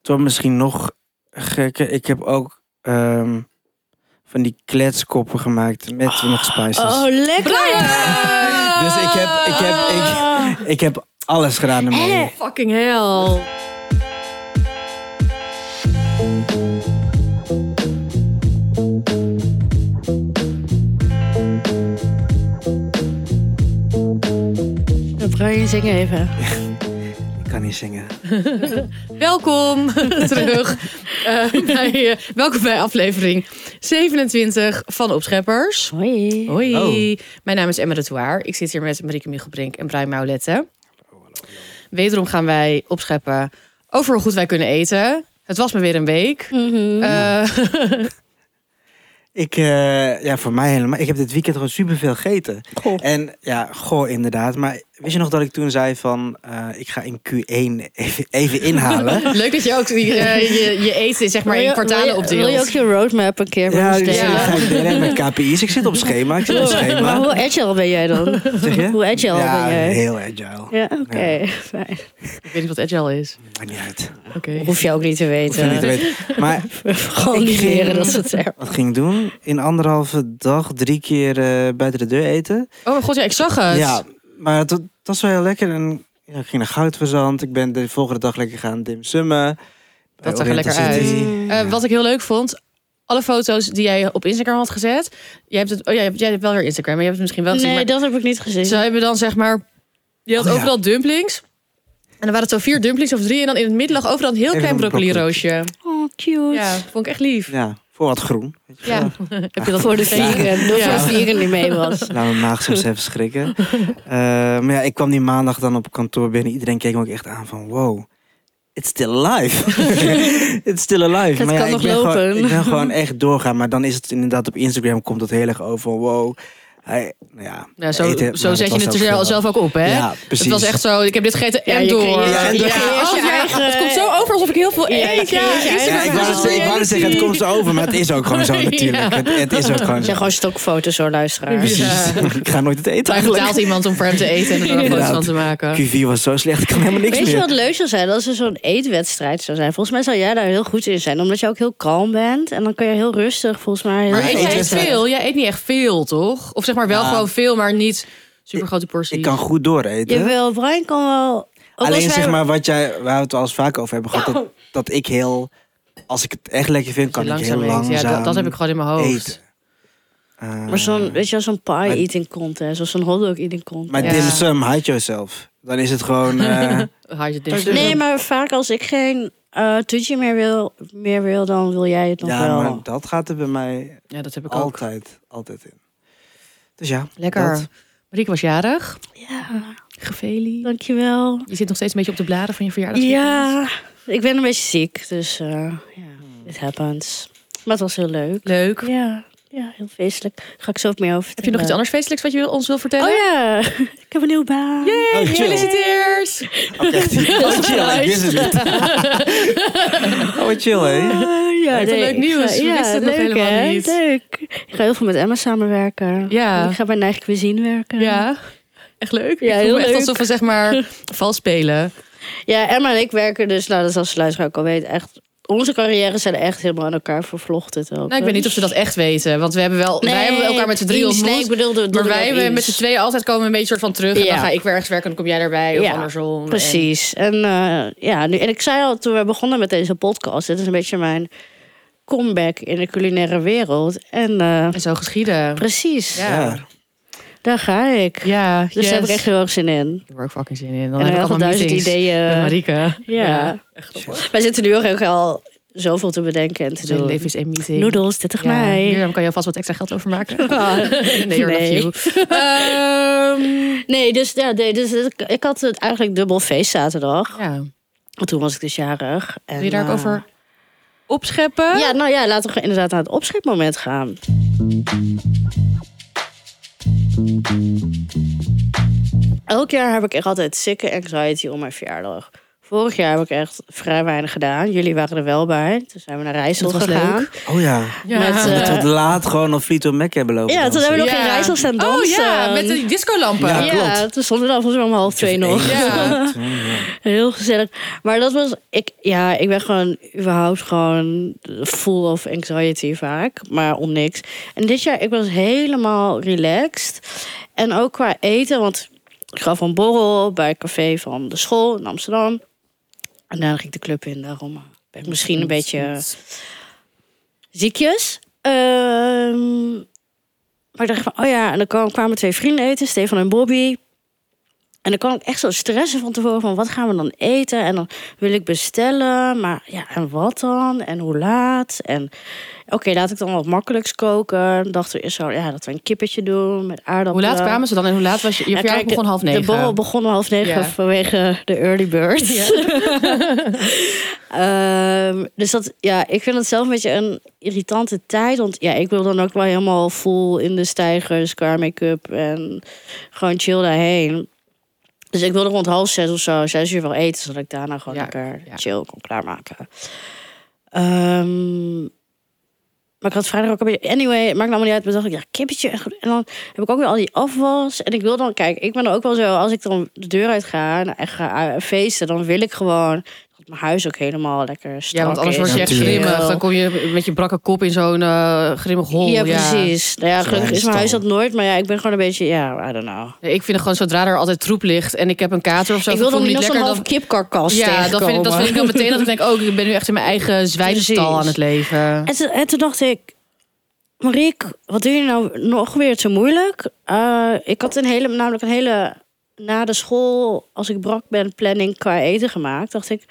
Toen misschien nog gekker. Ik heb ook ehm, van die kletskoppen gemaakt met nog spices. Oh, lekker! Dus ik heb, ik, heb, Ah. ik, ik heb alles gedaan Eh. ermee. Fucking hell. Dat ga je zingen even. Ik kan niet zingen. Welkom terug eh, bij, eh, welkom bij aflevering 27 van Opscheppers. Hoi. Hoi, Oh. mijn naam is Emma de Toir. Ik zit hier met Marieke Michelbrink en Brian Maulette. Wederom gaan wij opscheppen over hoe goed wij kunnen eten. Het was me weer een week. Mhm. Eh, Ik, eh, ja, voor mij helemaal. Ik heb dit weekend gewoon superveel gegeten. En ja, goh, inderdaad. Maar wist je nog dat ik toen zei van... eh, ik ga in Q1 even, even inhalen? leuk dat je ook die, eh, je, je eten zeg maar Wil je- in kwartalen wil je- opdeelt. Wil je ook je roadmap een keer ja, met dus ons dan delen? ga ik delen met KPI's. Ik zit op schema. Ik zit op Maar schema. hoe agile ben jij dan? Zeg je? Oh. Hoe agile ja, ben jij? heel agile. Ja, oké. Fijn. Ik weet niet wat agile is. Maakt niet uit. Oké. Hoef je ook niet te Hoef je weten. niet te weten. Maar Gewoon Ik niet ging- leren dat soort termen. wat ging ik doen? In anderhalve dag drie keer eh, buiten de deur eten. Oh mijn god, ja, ik zag het. Ja, maar het, het was wel heel lekker. En, ja, ik ging naar Goudverzand. Ik ben de volgende dag lekker gaan dimsummen. Bij zag er lekker Oriental uit. City. Eh, Wat ik heel leuk vond, alle foto's die jij op Instagram had gezet. Jij hebt, het, oh, jij, hebt, jij hebt wel weer Instagram, maar je hebt het misschien wel gezien. Nee, maar dat heb ik niet gezien. Ze hebben dan zeg maar, je had Oh, ja. overal dumplings. En dan waren het zo vier dumplings of drie. En dan in het midden lag overal een heel Even klein een broccoli. broccoli roosje. Oh, cute. Ja, vond ik echt lief. Ja, voor wat groen. Weet je Ja. wel. Heb je dat Voor de gegeten? vegan. Door Ja. voor de vegan die mee was. Laat mijn maag soms even schrikken. Eh, maar ja, ik kwam die maandag dan op kantoor binnen. Iedereen keek me ook echt aan van wow. It's still alive. It's still alive. Het maar ja, kan ik nog ben Gewoon, lopen. ik ben gewoon echt doorgaan. Maar dan is het inderdaad op Instagram komt het heel erg over. Wow. Hij, nou ja, Nou, zo eten, maar zo zet was je het er ook zelf- geweldig. zelf ook op, hè? Ja, precies. Het was echt zo, ik heb dit gegeten Ja, en je door. creëert- Ja, en ja, door- creëert je oh, ja, eigen- het komt zo over alsof ik heel veel Ja, je eet. Ja, creëert je Instagram Ja, eigen- ik is wou een net- ik wou net zeggen, het komt zo over, maar het is ook gewoon zo natuurlijk. Het, het is ook gewoon Het zo. zijn gewoon stokfoto's hoor, luisteraars. Ja. Precies. Ik ga nooit het eten Hij eigenlijk. betaalt iemand om voor hem te eten en er dan foto's Inderdaad. van te maken. Q4 was zo slecht, ik kan helemaal niks Weet je meer. wat leuk zou zijn? Als er zo'n eetwedstrijd zou zijn. Volgens mij zou jij daar heel goed in zijn. Omdat je ook heel kalm bent. En dan kun je heel rustig, volgens mij. heel Maar Ja, eet jij eten echt is- veel? Jij eet niet echt veel, toch? Of zeg maar wel Ja. gewoon veel, maar niet super grote porties. Ik kan goed dooreten. Jawel, Brian kan wel. ook als Alleen wij- zeg maar wat jij, waar we het al eens vaak over hebben gehad, dat, dat ik heel, als ik het echt lekker vind, Dat kan Oh. je ik heel langzaam langzaam eet. Ja, dat, dat heb ik gewoon in mijn hoofd. eten. Eh, Maar zo'n, weet je wel, zo'n Maar- pie-eating contest of zo'n hotdog-eating contest. maar Ja. dim sum, hide yourself. Dan is het gewoon, eh, Haal je dit- Nee, maar vaak als ik geen eh toetje meer wil, meer wil, dan wil jij het nog ja, wel. maar dat gaat er bij mij Ja, dat heb ik ook. altijd, altijd in. Dus ja, Lekker. dat. Marieke was jarig. Ja, Gefeliciteerd. dankjewel. Je zit nog steeds een beetje op de bladen van je verjaardag. Ja, ik ben een beetje ziek, dus eh ja, it happens. Maar het was heel leuk. Leuk. Ja, ja heel feestelijk. Ga ik zo meer over Heb je nog iets anders feestelijks wat je wil- ons wil vertellen? Oh ja, ik heb een nieuwe baan. Oh, chill. Gefeliciteerd! Oh, echt hier. Oh, chill. Ik wist het niet. Oh, wat chill, hè? Eh, ja, Wat een leuk ik nieuws. We wisten het nog helemaal hè? niet. Leuk. Ik ga heel veel met Emma samenwerken. Ja. En ik ga bij Neig Cuisine werken. Ja. Echt leuk. Ja, ik voel heel me echt leuk. alsof we zeg maar vals spelen. Ja, Emma en ik werken dus, nou, dat is als de luisteraar ook al weet, echt... Onze carrières zijn echt helemaal aan elkaar vervlochten. het ook. Nou, ik weet niet of ze dat echt weten. Want we hebben wel, wij hebben elkaar met z'n drie eens. ontmoet. Nee, ik bedoelde, maar bedoelde wij ook hebben eens. met z'n tweeën altijd komen we een beetje soort van terug. En Ja. dan ga ik weer ergens werken en dan kom jij daarbij. Of Ja, andersom. En- Precies. En, eh, ja, nu, en ik zei al toen we begonnen met deze podcast, dit is een beetje mijn comeback in de culinaire wereld. En eh, En zo geschieden. precies, Ja. Ja. daar ga ik. Ja, Dus daar heb ik yes. echt heel erg zin in. Ik heb er ook fucking zin in. Dan en heb ik al allemaal duizend meetings ideeën. met Marieke. Ja. Wij zitten nu ook echt al zoveel te bedenken en te Zijn doen. Dus leven is één meeting. Noedels, 30 Ja, mei. Hier dan kan je alvast wat extra geld overmaken. Ah. nee, hoor, Nee. love you. Ehm, Nee, dus, ja, nee, dus ik, ik had het eigenlijk dubbel feest zaterdag. ja. Want toen was ik dus jarig. En, Wil je daar ook eh, over opscheppen? Ja, nou ja, laten we inderdaad naar het opschepmoment gaan. Elk jaar heb ik echt altijd sikke anxiety om mijn verjaardag. Vorig jaar heb ik echt vrij weinig gedaan. Jullie waren er wel bij. Toen zijn we naar Rijssel Dat was gegaan. leuk. Oh ja. Ja. Met, eh, Dat we tot laat gewoon op Fleetwood Mac hebben lopen. Ja, toen dansen. hebben we nog in Rijssel staan dansen. Oh ja, met de discolampen. Ja, Ja, klopt. toen stonden we dan volgens mij om half twee nog. Eén, Ja. twee, ja. Heel gezellig. Maar dat was, ik, ja, ik ben gewoon überhaupt gewoon full of anxiety vaak, maar om niks. En dit jaar, ik was helemaal relaxed. En ook qua eten, want ik gaf een borrel bij het café van de school in Amsterdam. En daarna ging ik de club in, daarom ben ik misschien een beetje ziekjes. Ehm, maar ik dacht van, oh ja, en dan kwam- kwamen twee vrienden eten, Stefan en Bobby. En dan kan ik echt zo stressen van tevoren van wat gaan we dan eten? En dan wil ik bestellen, maar ja, en wat dan? En hoe laat? En oké, laat ik dan wat makkelijks koken. Dan dachten we eerst zo, ja, dat we een kippetje doen met Hoe aardappelen. laat kwamen ze dan en hoe laat was je? Je Ja, verjaardag kijk, begon half De borrel negen. begon om half negen Ja. vanwege de early bird. Ehm, dus dat, ja, ik vind het zelf een beetje een irritante tijd. Want ja, ik wil dan ook wel helemaal vol in de stijgers qua make-up en gewoon chill daarheen. Dus ik wilde rond half zes of zo, zes uur wel eten, zodat ik daarna gewoon Ja, lekker ja. chill kon klaarmaken. Ehm, maar ik had vrijdag ook een beetje... Anyway, het maakt allemaal niet uit. Maar toen dacht ik, ja, kippetje. En goed. En dan heb ik ook weer al die afwas. En ik wil dan... Kijk, ik ben dan ook wel zo... Als ik dan de deur uit ga en echt ga eh, feesten... dan wil ik gewoon dat mijn huis ook helemaal lekker strak Ja, want anders is. word je echt Natuurlijk. grimmig. Dan kom je met je brakke kop in zo'n eh, grimmig hol. Ja, precies. Nou ja, Zo'n gelukkig is mijn huis dat stal. nooit. Maar ja, ik ben gewoon een beetje... Ja, I don't know. Nee, ik vind het gewoon zodra er altijd troep ligt en ik heb een kater of zo. ik wil dan voel me niet nog zo'n lekker, half dan- kipkarkas Ja, dat vind, ik, dat vind ik dan meteen dat ik denk, oh, ik ben nu echt in mijn eigen zwijgenstal Precies. aan het leven. En, toen- en toen dacht ik, Marieke, wat doe je nou nog weer te moeilijk? Eh, ik had een hele, namelijk een hele na de school, als ik brak ben, planning qua eten gemaakt. Dacht ik,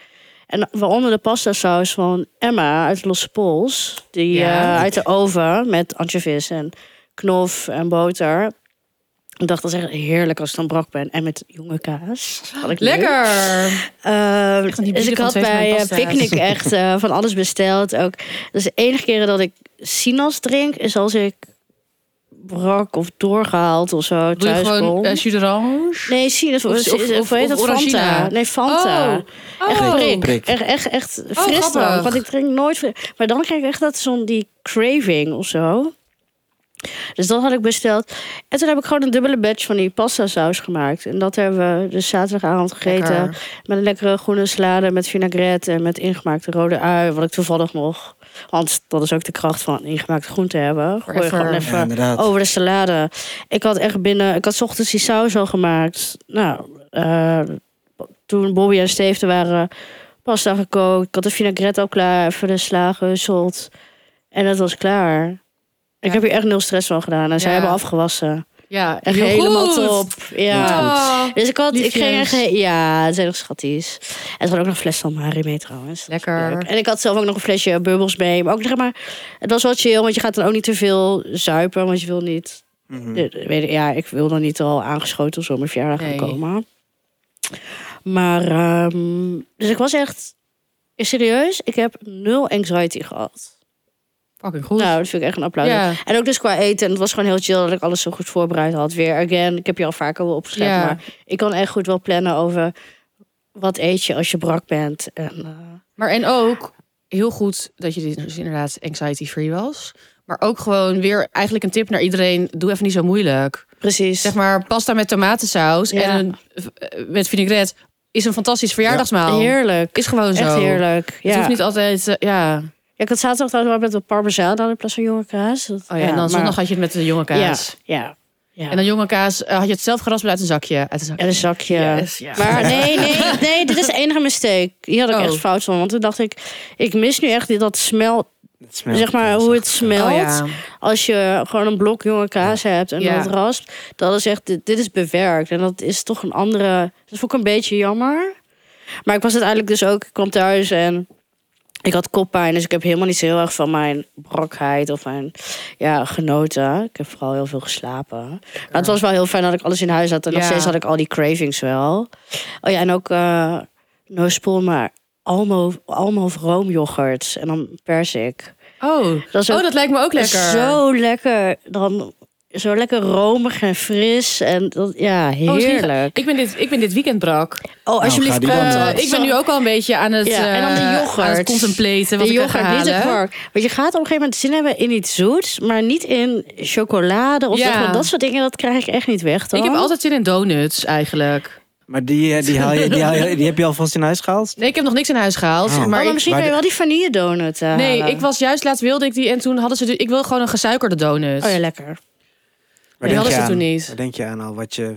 en waaronder de pasta saus van Emma uit Losse Pols, die Ja. eh, uit de oven met anchovies en knof en boter. Ik dacht, dat is echt heerlijk als ik dan brak ben. En met jonge kaas. Had ik leuk. Lekker! Ehm, Echt een hybride dus ik van had twee van mijn bij eh, pasta's. Picnic echt eh, van alles besteld. Ook. Dus de enige keren dat ik sinaas drink is als ik brak of doorgehaald of zo Doe je thuis gewoon kom. eh, jus d'orange? nee, sinaas. Of, of- of, of- hoe heet of dat? Fanta. orangina? Nee, Fanta. Oh, Echt prik. Prik. Echt, echt, echt fris grappig. Want ik drink nooit fris. Maar dan krijg ik echt dat zo'n die craving of zo. Dus dat had ik besteld. En toen heb ik gewoon een dubbele batch van die pasta saus gemaakt. En dat hebben we dus zaterdagavond gegeten. Lekker. Met een lekkere groene salade, met vinaigrette en met ingemaakte rode ui. Wat ik toevallig nog. Want dat is ook de kracht van ingemaakte groenten hebben. Gooi je Forever. gewoon Ja, even inderdaad. over de salade. Ik had echt binnen... Ik had 's ochtends die saus al gemaakt. Nou, eh, toen Bobby en Steve er waren, pasta gekookt. Ik had de vinaigrette al klaar, even de sla gehusteld. En dat was klaar. Ik Ja. heb hier echt nul stress van gedaan. En zij Ja. hebben afgewassen. Ja, Echt heel helemaal goed. Oh. top. Ja. Ja. Dus ik had, ik Liefjes. ging echt, ja, het zijn nog schatties. En ze had ook nog een fles Samari mee trouwens. Dat was Lekker. leuk. En ik had zelf ook nog een flesje bubbels mee. Maar ook zeg maar, het was wel chill, want je gaat dan ook niet te veel zuipen, want je wil niet. Hm. Mhm. de- de- weet ik- Ja, ik wil dan niet al aangeschoten of zo op mijn verjaardag Nee. gaan komen. Maar, ehm, dus ik was echt, serieus, ik heb nul anxiety gehad. Fucking goed. Nou, dat vind ik echt een applaus. Ja. En ook dus qua eten. En het was gewoon heel chill dat ik alles zo goed voorbereid had. Weer again, ik heb je al vaker wel opgeschreven. Ja. Maar ik kan echt goed wel plannen over wat eet je als je brak bent. En, eh, Maar en ook heel goed dat je dit dus inderdaad anxiety free was. Maar ook gewoon weer eigenlijk een tip naar iedereen: doe even niet zo moeilijk. precies. Zeg maar pasta met tomatensaus Ja. en een, eh, met vinaigrette is een fantastisch verjaardagsmaal. heerlijk. Is gewoon zo. Echt heerlijk. Het Ja. hoeft niet altijd. eh, ja. ja, ik had zaterdag trouwens wel met de parmezaan aan in plaats van jonge kaas. Dat- Oh ja, en dan maar- zondag had je het met de jonge kaas. Ja, ja. ja. En dan jonge kaas eh, had je het zelf geraspeld uit een zakje. Uit een zakje. en een zakje. Yes, ja. Maar nee, nee, nee, dit is de enige mistake. Hier had ik Oh. echt fout van. Want toen dacht ik, ik mis nu echt dat smelt. Het smelt. zeg maar hoe het smelt. Oh ja. als je gewoon een blok jonge kaas hebt en Ja. dat raspt, dat is echt, dit, dit is bewerkt. En dat is toch een andere, dat vond ik een beetje jammer. Maar ik was uiteindelijk dus ook, ik kwam thuis en ik had koppijn. Dus ik heb helemaal niet zo heel erg van mijn brakheid of mijn, ja, genoten. Ik heb vooral heel veel geslapen. Maar het was wel heel fijn dat ik alles in huis had. En nog Ja. steeds had ik al die cravings wel. Oh ja, en ook, eh no spoel, maar Almo, Almo roomyoghurt en dan persik. Oh. Dat is ook oh, dat lijkt me ook lekker. Zo lekker. Dan zo lekker romig en fris. En dat, ja, Oh, misschien ga- heerlijk. Ik ben dit, ik ben dit weekend brak. Oh, alsjeblieft. Nou, ga die kom kant dan. op. Eh, ik ben nu ook al een beetje aan het, Ja, en dan de eh, yoghurt. aan het contemplaten wat de ik ga yoghurt, niet de halen. kwark. Want je gaat op een gegeven moment zin hebben in iets zoets, maar niet in chocolade of Ja. zeg maar dat soort dingen. Dat krijg ik echt niet weg. Oh, Dan. Ik heb altijd zin in donuts eigenlijk. Maar die, eh, die, haal je, die, haal je- die heb je alvast in huis gehaald? Nee, ik heb nog niks in huis gehaald. Oh. Maar, Maar ik- misschien maar kan je de- wel die vanille donut halen. nee, ik was juist laatst wilde ik die en toen hadden ze... de- ik wil gewoon een gesuikerde donut. Oh ja, lekker. Waar Die denk hadden je ze aan? toen niet. Waar denk je aan al wat je wil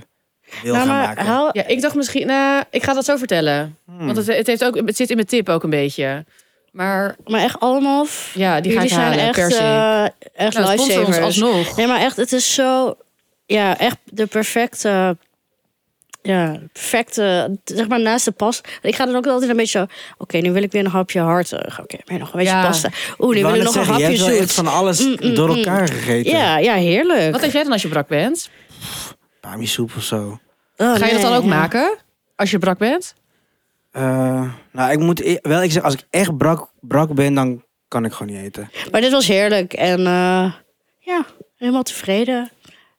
Nou, gaan maar maken? haal- Ja, ik dacht misschien... nou, ik ga dat zo vertellen. Hmm. Want het, het, heeft ook, het zit in mijn tip ook een beetje. Maar maar echt allemaal... f- ja, die ga jullie ik halen. zijn echt, per se. eh, echt nou, sponsor ons lifesavers. alsnog. Nee, maar echt, het is zo... Ja, echt de perfecte... Ja, perfecte... Zeg maar naast de pasta. Ik ga dan ook altijd een beetje zo... Oké, nu wil ik weer een hapje hartig. Oké, maar nog een beetje Ja. pasta. Oeh, nu Ik wil wou net ik nog zeggen, een je hapje hebt wel echt zoet. van alles Mm, mm, door mm. elkaar gegeten. Ja, ja, heerlijk. Wat eet jij dan als je brak bent? Bamisoep of zo. Oh, Ga je dat nee, dan ook ja. maken? Als je brak bent? Eh, nou, ik moet e- wel ik zeg, als ik echt brak, brak ben, dan kan ik gewoon niet eten. Maar dit was heerlijk. En eh, ja, helemaal tevreden.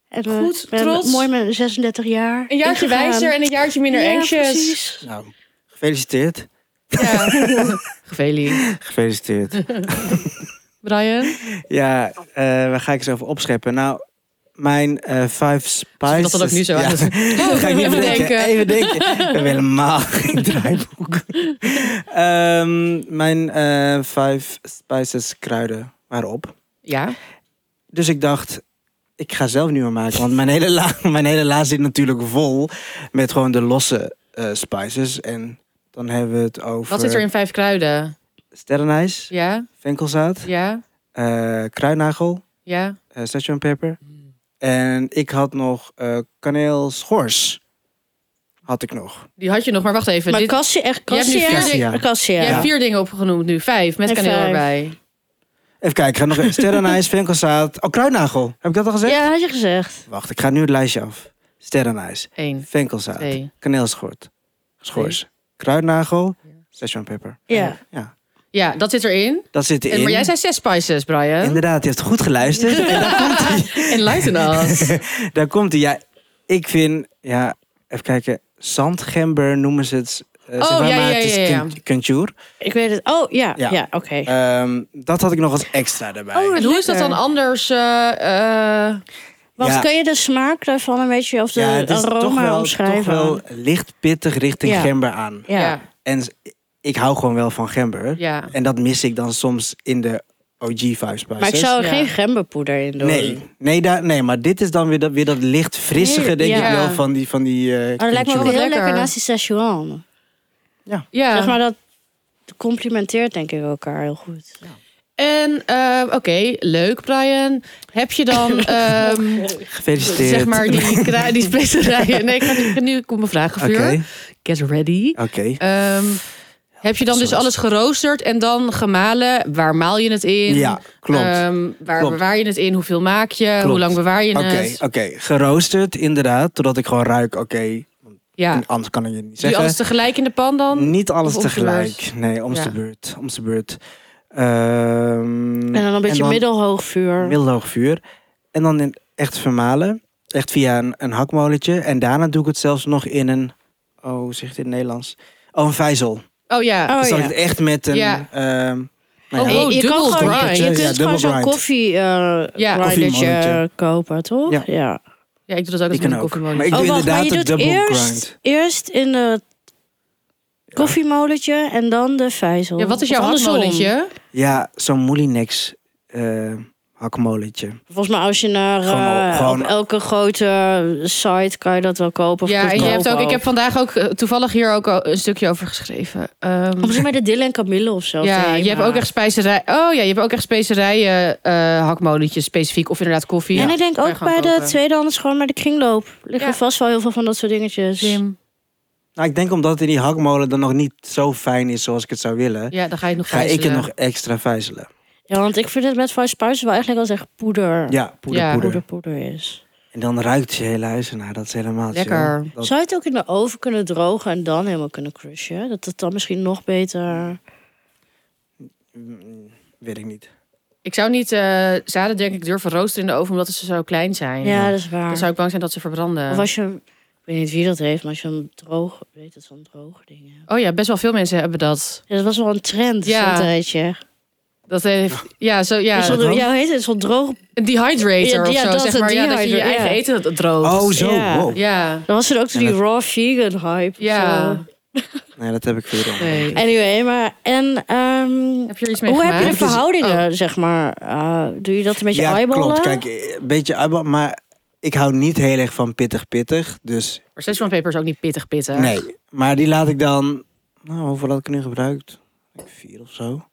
En, eh, Goed, ik ben trots. Mooi met 36 jaar. Een jaartje ingegaan. wijzer en een jaartje minder Ja, anxious. precies. Nou, gefeliciteerd. Ja. Gefeliciteerd. Gefeliciteerd. Brian, ja, eh waar ga ik eens over opscheppen? Nou, mijn eh Five Spices... dat dat ook nu zo Ja, aan is. dat ga ik niet Even even denken. denken. Even denken. We hebben helemaal geen draaiboek. Ehm, mijn eh Five Spices kruiden waren op. Ja. Dus ik dacht, ik ga zelf nu maar maken. Want mijn hele la, mijn hele la zit natuurlijk vol met gewoon de losse eh, spices. En dan hebben we het over... Wat zit er in vijf kruiden? Sterrenijs, Ja, venkelzaad, ja, eh, kruidnagel, ja. eh Szechuan pepper. En ik had nog eh kaneelschors. Had ik nog. Die had je nog, maar wacht even. Maar Dit, cassia, echt Je hebt nu cassia. vier dingen. Ja, cassia. Jij hebt Ja. vier dingen opgenoemd nu. Vijf, met En kaneel vijf. erbij. Even kijken, ik ga nog even. Sterrenijs, venkelzaad. Oh, kruidnagel. Heb ik dat al gezegd? Ja, had je gezegd. Wacht, ik ga nu het lijstje af. Sterrenijs, Eén. venkelzaad, Twee. kaneelschort, schors, kruidnagel, Szechuan pepper. Ja. Ja, Ja, dat zit erin. dat zit erin. En, maar jij zei zes spices, Brian. Inderdaad, je hebt goed geluisterd. en daar komt hij. Enlighten us. Daar komt hij. Ja, ik vind, ja, even kijken. Zandgember noemen ze het. eh, Oh, zeg maar, ja, maar ja, het is ja, ja. kun- kuntuur. Ik weet het. Oh, ja. Ja. Ja, oké. Ehm, dat had ik nog als extra Oh, erbij. En hoe is dat dan anders? eh, eh, Wat ja. kun je de smaak daarvan een beetje of de ja, het is aroma toch wel, toch omschrijven? wel licht pittig richting Ja. gember aan. Ja. ja. En s- ik hou gewoon wel van gember. ja. En dat mis ik dan soms in de OG Five Spices. Maar ik zou er Ja. geen gemberpoeder in doen. Nee, nee, daar, nee, maar dit is dan weer dat, weer dat licht frissige, denk Ja. ik wel, van die... Van die eh, Maar dat lijkt me ook kuntuur. heel Wat lekker, lekker. naast die Szechuan. ja. Zeg maar dat complimenteert denk ik elkaar heel goed. En, eh, oké, leuk, Brian. Heb je dan, ehm, Gefeliciteerd. zeg maar, die, kra- die specerijen... Nee, ik ga nu- nu komt mijn vraag Oké, gevuurd. Get ready. oké. Eh, Ehm, heb je dan dus Sorry. alles geroosterd en dan gemalen? Waar maal je het in? Ja, klopt. eh, Ehm, waar Klopt. bewaar je het in? Hoeveel maak je? Hoe Klopt. lang bewaar je Oké, het? oké. Geroosterd inderdaad, totdat ik gewoon ruik, oké, Ja. en anders kan ik je niet Doe je zeggen. Mm. alles tegelijk in de pan dan? Niet alles Of om de tegelijk. Nee, om Ja. de beurt. Om de beurt. Ehm, En dan een beetje middelhoog vuur. middelhoog vuur. En dan in echt vermalen. Echt via een, een hakmoletje. En daarna doe ik het zelfs nog in een... Oh, hoe zeg je het in het Nederlands? Oh, een vijzel. Oh ja. Oh, dus dat ja. ik het echt met een... Ja. ehm, nou Oh, ja, Je- je, dubbel kan gewoon, grind. je kunt Ja, dubbel gewoon zo'n grind. koffie eh grindertje Koffiemannetje. kopen, toch? Ja. Ja. ja, ik doe dat die ook eens met kan een ook. koffiemolen. Maar ik Oh, doe wacht, maar inderdaad je de doet dubbel eerst, grind. eerst in de koffiemolentje en dan de vijzel. Ja, wat is Of jouw andersom. handmolentje? Ja, zo'n Moulinex eh hakmoletje. Volgens mij als je naar eh, Gewoon- gewoon- op elke grote site kan je dat wel kopen. Of Ja, en je goedkoop hebt ook, ik heb ook. vandaag ook eh, toevallig hier ook al een stukje over geschreven. Ehm, Of Volgens mij de Dille en Camille of zo. ja, thema. je hebt ook echt specerijen. Oh ja, je hebt ook echt specerijen, eh, hakmolentjes specifiek of inderdaad koffie. En ik denk Kan je ook gewoon bij de kopen. tweedehands gewoon bij de kringloop. Liggen Ja. vast wel heel veel van dat soort dingetjes. Slim. Nou, ik denk omdat het in die hakmolen dan nog niet zo fijn is zoals ik het zou willen, Ja, dan ga je het nog ga ik het vijzelen. nog extra vijzelen. Ja, want ik vind het met Vice Spice wel eigenlijk als echt poeder. Ja, poeder, Ja. poeder. Poeder, poeder is. En dan ruikt je hele huis ernaar. Dat is helemaal Lekker. chill. Dat- Zou je het ook in de oven kunnen drogen en dan helemaal kunnen crushen? Dat het dan misschien nog beter... Mm, weet ik niet. Ik zou niet eh, zaden, denk ik, durven roosteren in de oven, omdat ze zo klein zijn. Ja, dat is waar. Dan zou ik bang zijn dat ze verbranden. Of als je, hem- ik weet niet wie dat heeft, maar als je hem droog, weet het zo'n droog ding. hebt. Oh ja, best wel veel mensen hebben dat. Ja, dat was wel een trend, Ja. ja. zo'n tijdje. Dat heeft, ja, zo, ja, Ja, dat zo'n, ook. ja, hoe heet het? Zo'n droog... een dehydrator Ja, of ja, zo, dat, zeg een maar. Ja, dat je je dehydrator, eigen ja. eten droogt. Oh, zo. Ja. Wow. Ja, Dan was er ook zo Ja, die raw vegan hype. ja. of zo. Nee, dat heb ik veel Nee. Anyway, maar... En ehm, Heb je er iets mee hoe gemaakt? heb je de Of is- oh. verhoudingen, zeg maar? eh, doe je dat een beetje ja, eyeballen? klopt. Kijk, eh, een beetje eyeball, maar ik hou niet heel erg van pittig-pittig. Dus Oh, Maar Szechuan peper is ook niet pittig pittig. nee. Maar die laat ik dan... Nou, hoeveel had ik er nu gebruikt? Ik denk Vier of zo.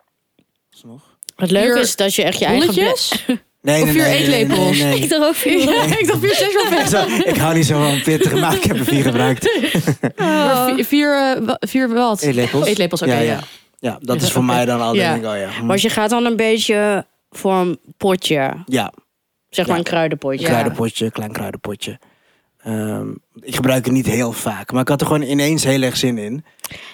Alsnog. Het leuke Vier is dat je echt je eigen... Bolletjes? Nee, Of vier nee, eetlepels. nee, nee. Ik dacht ook veel. Ja, ik dacht vier Szechuan peper. Zo, ik hou niet zo van pittig, maar ik heb er vier gebruikt. Maar vi- Vier, eh, wa- vier wat? Eetlepels. Eetlepels, oké, ja, ja. ja. Ja, dat is voor mij dan al, Ja. denk ik, oh ja. hm. Maar je gaat dan een beetje voor een potje. Ja, Zeg maar Ja. een kruidenpotje. een Ja. kruidenpotje, klein kruidenpotje. Ehm, ik gebruik het niet heel vaak, maar ik had er gewoon ineens heel erg zin in.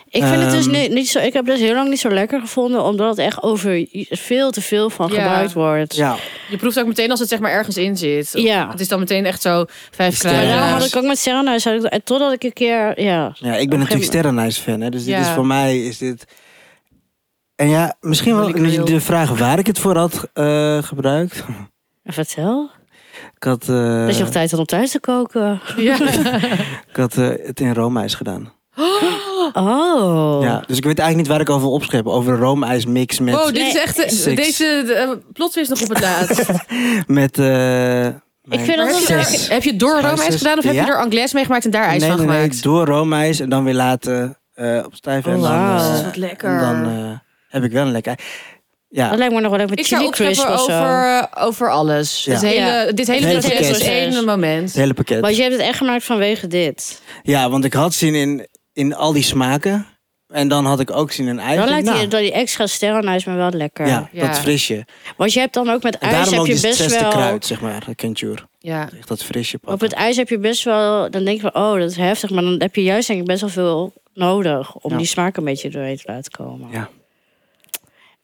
Ik vind het dus Ehm. niet, niet zo. Ik heb het heel lang niet zo lekker gevonden, omdat het echt over veel te veel van Ja. gebruikt wordt. Ja, Je proeft ook meteen als het zeg maar ergens in zit. Ja. Het is dan meteen echt zo vijf Sterren. Maar kruiden. daarom had ik ook met Serena, had ik, en totdat ik een keer, ja ja, ik ben natuurlijk gegeven Sterrenhuis-fan, hè, dus dit Ja. is voor mij is dit... En ja, misschien wel Holy grail. de vraag waar ik het voor had eh, gebruikt. vertel. Ik had, eh, dat je nog tijd had om thuis te koken. Ja. ik had eh, het in roomijs gedaan. Oh. Ja, dus ik weet eigenlijk niet waar ik over wil opscheppen. Over een roomijsmix met... Wow, dit is Nee, echt... eh, six. Deze eh, plotwist nog op het laatst. met eh, mijn vind dat heb, je wel zes. daar, heb je door roomijs Zes. gedaan of heb Ja. je er anglaise mee gemaakt en daar ijs nee, van nee, nee, gemaakt? door roomijs en dan weer laten eh op stijven. en Oh, dan, wauw. eh, Dat is wat lekker. en Dan eh, heb ik wel een lekker. Ja, Oh, Dat lijkt me nog wel leuk met Ik zou chili opscheppen crisp of zo. over, eh, over alles. Ja. Het hele, Ja. Dit Het hele hele proces is pakket. één moment. het hele pakket. Want je hebt het echt gemaakt vanwege dit. Ja, want ik had zin in, in al die smaken. En dan had ik ook zin in ijs. Dan Ik lijkt denk, die, nou, dat die extra sterrenhuis me wel lekker. ja, Ja. dat frisje. Want je hebt dan ook met En ijs daarom heb ook die je best zesde wel... kruid, zeg maar, de kentuur. Ja. Echt dat frisje Op pakken. het ijs heb je best wel, dan denk je van, oh, dat is heftig. Maar dan heb je juist denk ik best wel veel nodig om Ja. die smaak een beetje doorheen te laten komen. Ja.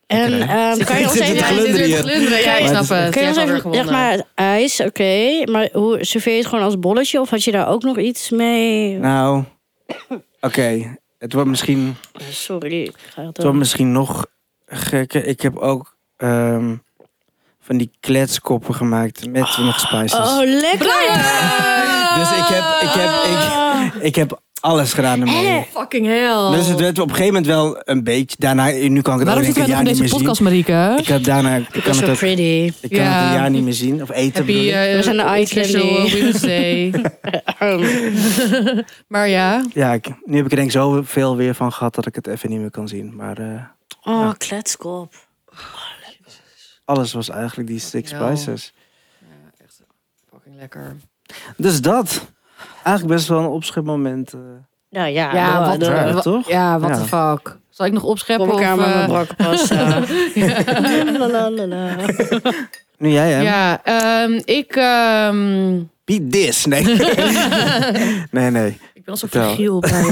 En Lekker, ehm, kan je Ik ons zit even, te ja, je zit weer te glunderen hier. glunderen. Ja, ik Maar snap het is- het. kan je Je ons hebt alweer even zeg gewonnen. maar het ijs, oké, maar hoe serveer je het gewoon als bolletje of had je daar ook nog iets mee? Nou, oké. Het wordt misschien Sorry, ik ga het Het wordt ook- misschien nog gekker. Ik heb ook ehm, van die kletskoppen gemaakt met nog spices. Oh, lekker! Dus ik heb, ik, heb, Oh. ik, ik heb alles gedaan Eh, ermee. Fucking hell. Dus het werd op een gegeven moment wel een beetje. Daarna, nu kan ik het Waarom ook zitten een wij nog jaar in niet deze meer zien. podcast, Marieke? Ik heb daarna, ik kan, Because het, we're ook, pretty. ik kan Ja. het een jaar niet meer zien. Of eten Happy, bedoel ik. eh, We zijn de eye International candy. Women's Day. Ehm, maar ja, Ja, ik, nu heb ik er denk ik zoveel weer van gehad dat ik het even niet meer kan zien. Maar eh, Oh, kletskop. alles was eigenlijk die six Ja. spices. fucking lekker. Dus dat. Eigenlijk best wel een opschepmoment. eh. Nou ja, Ja, doe- wat doe- raar, wa- toch? Ja, what the Ja. fuck. Zal ik nog opscheppen? Kom elkaar of, met mijn eh, brakke pasta. eh. La, la, la, la. Nu jij hè? Ja, ehm, ik, ehm, Beat this. Nee. nee, nee. ik ben als een Vertel. vergiel bij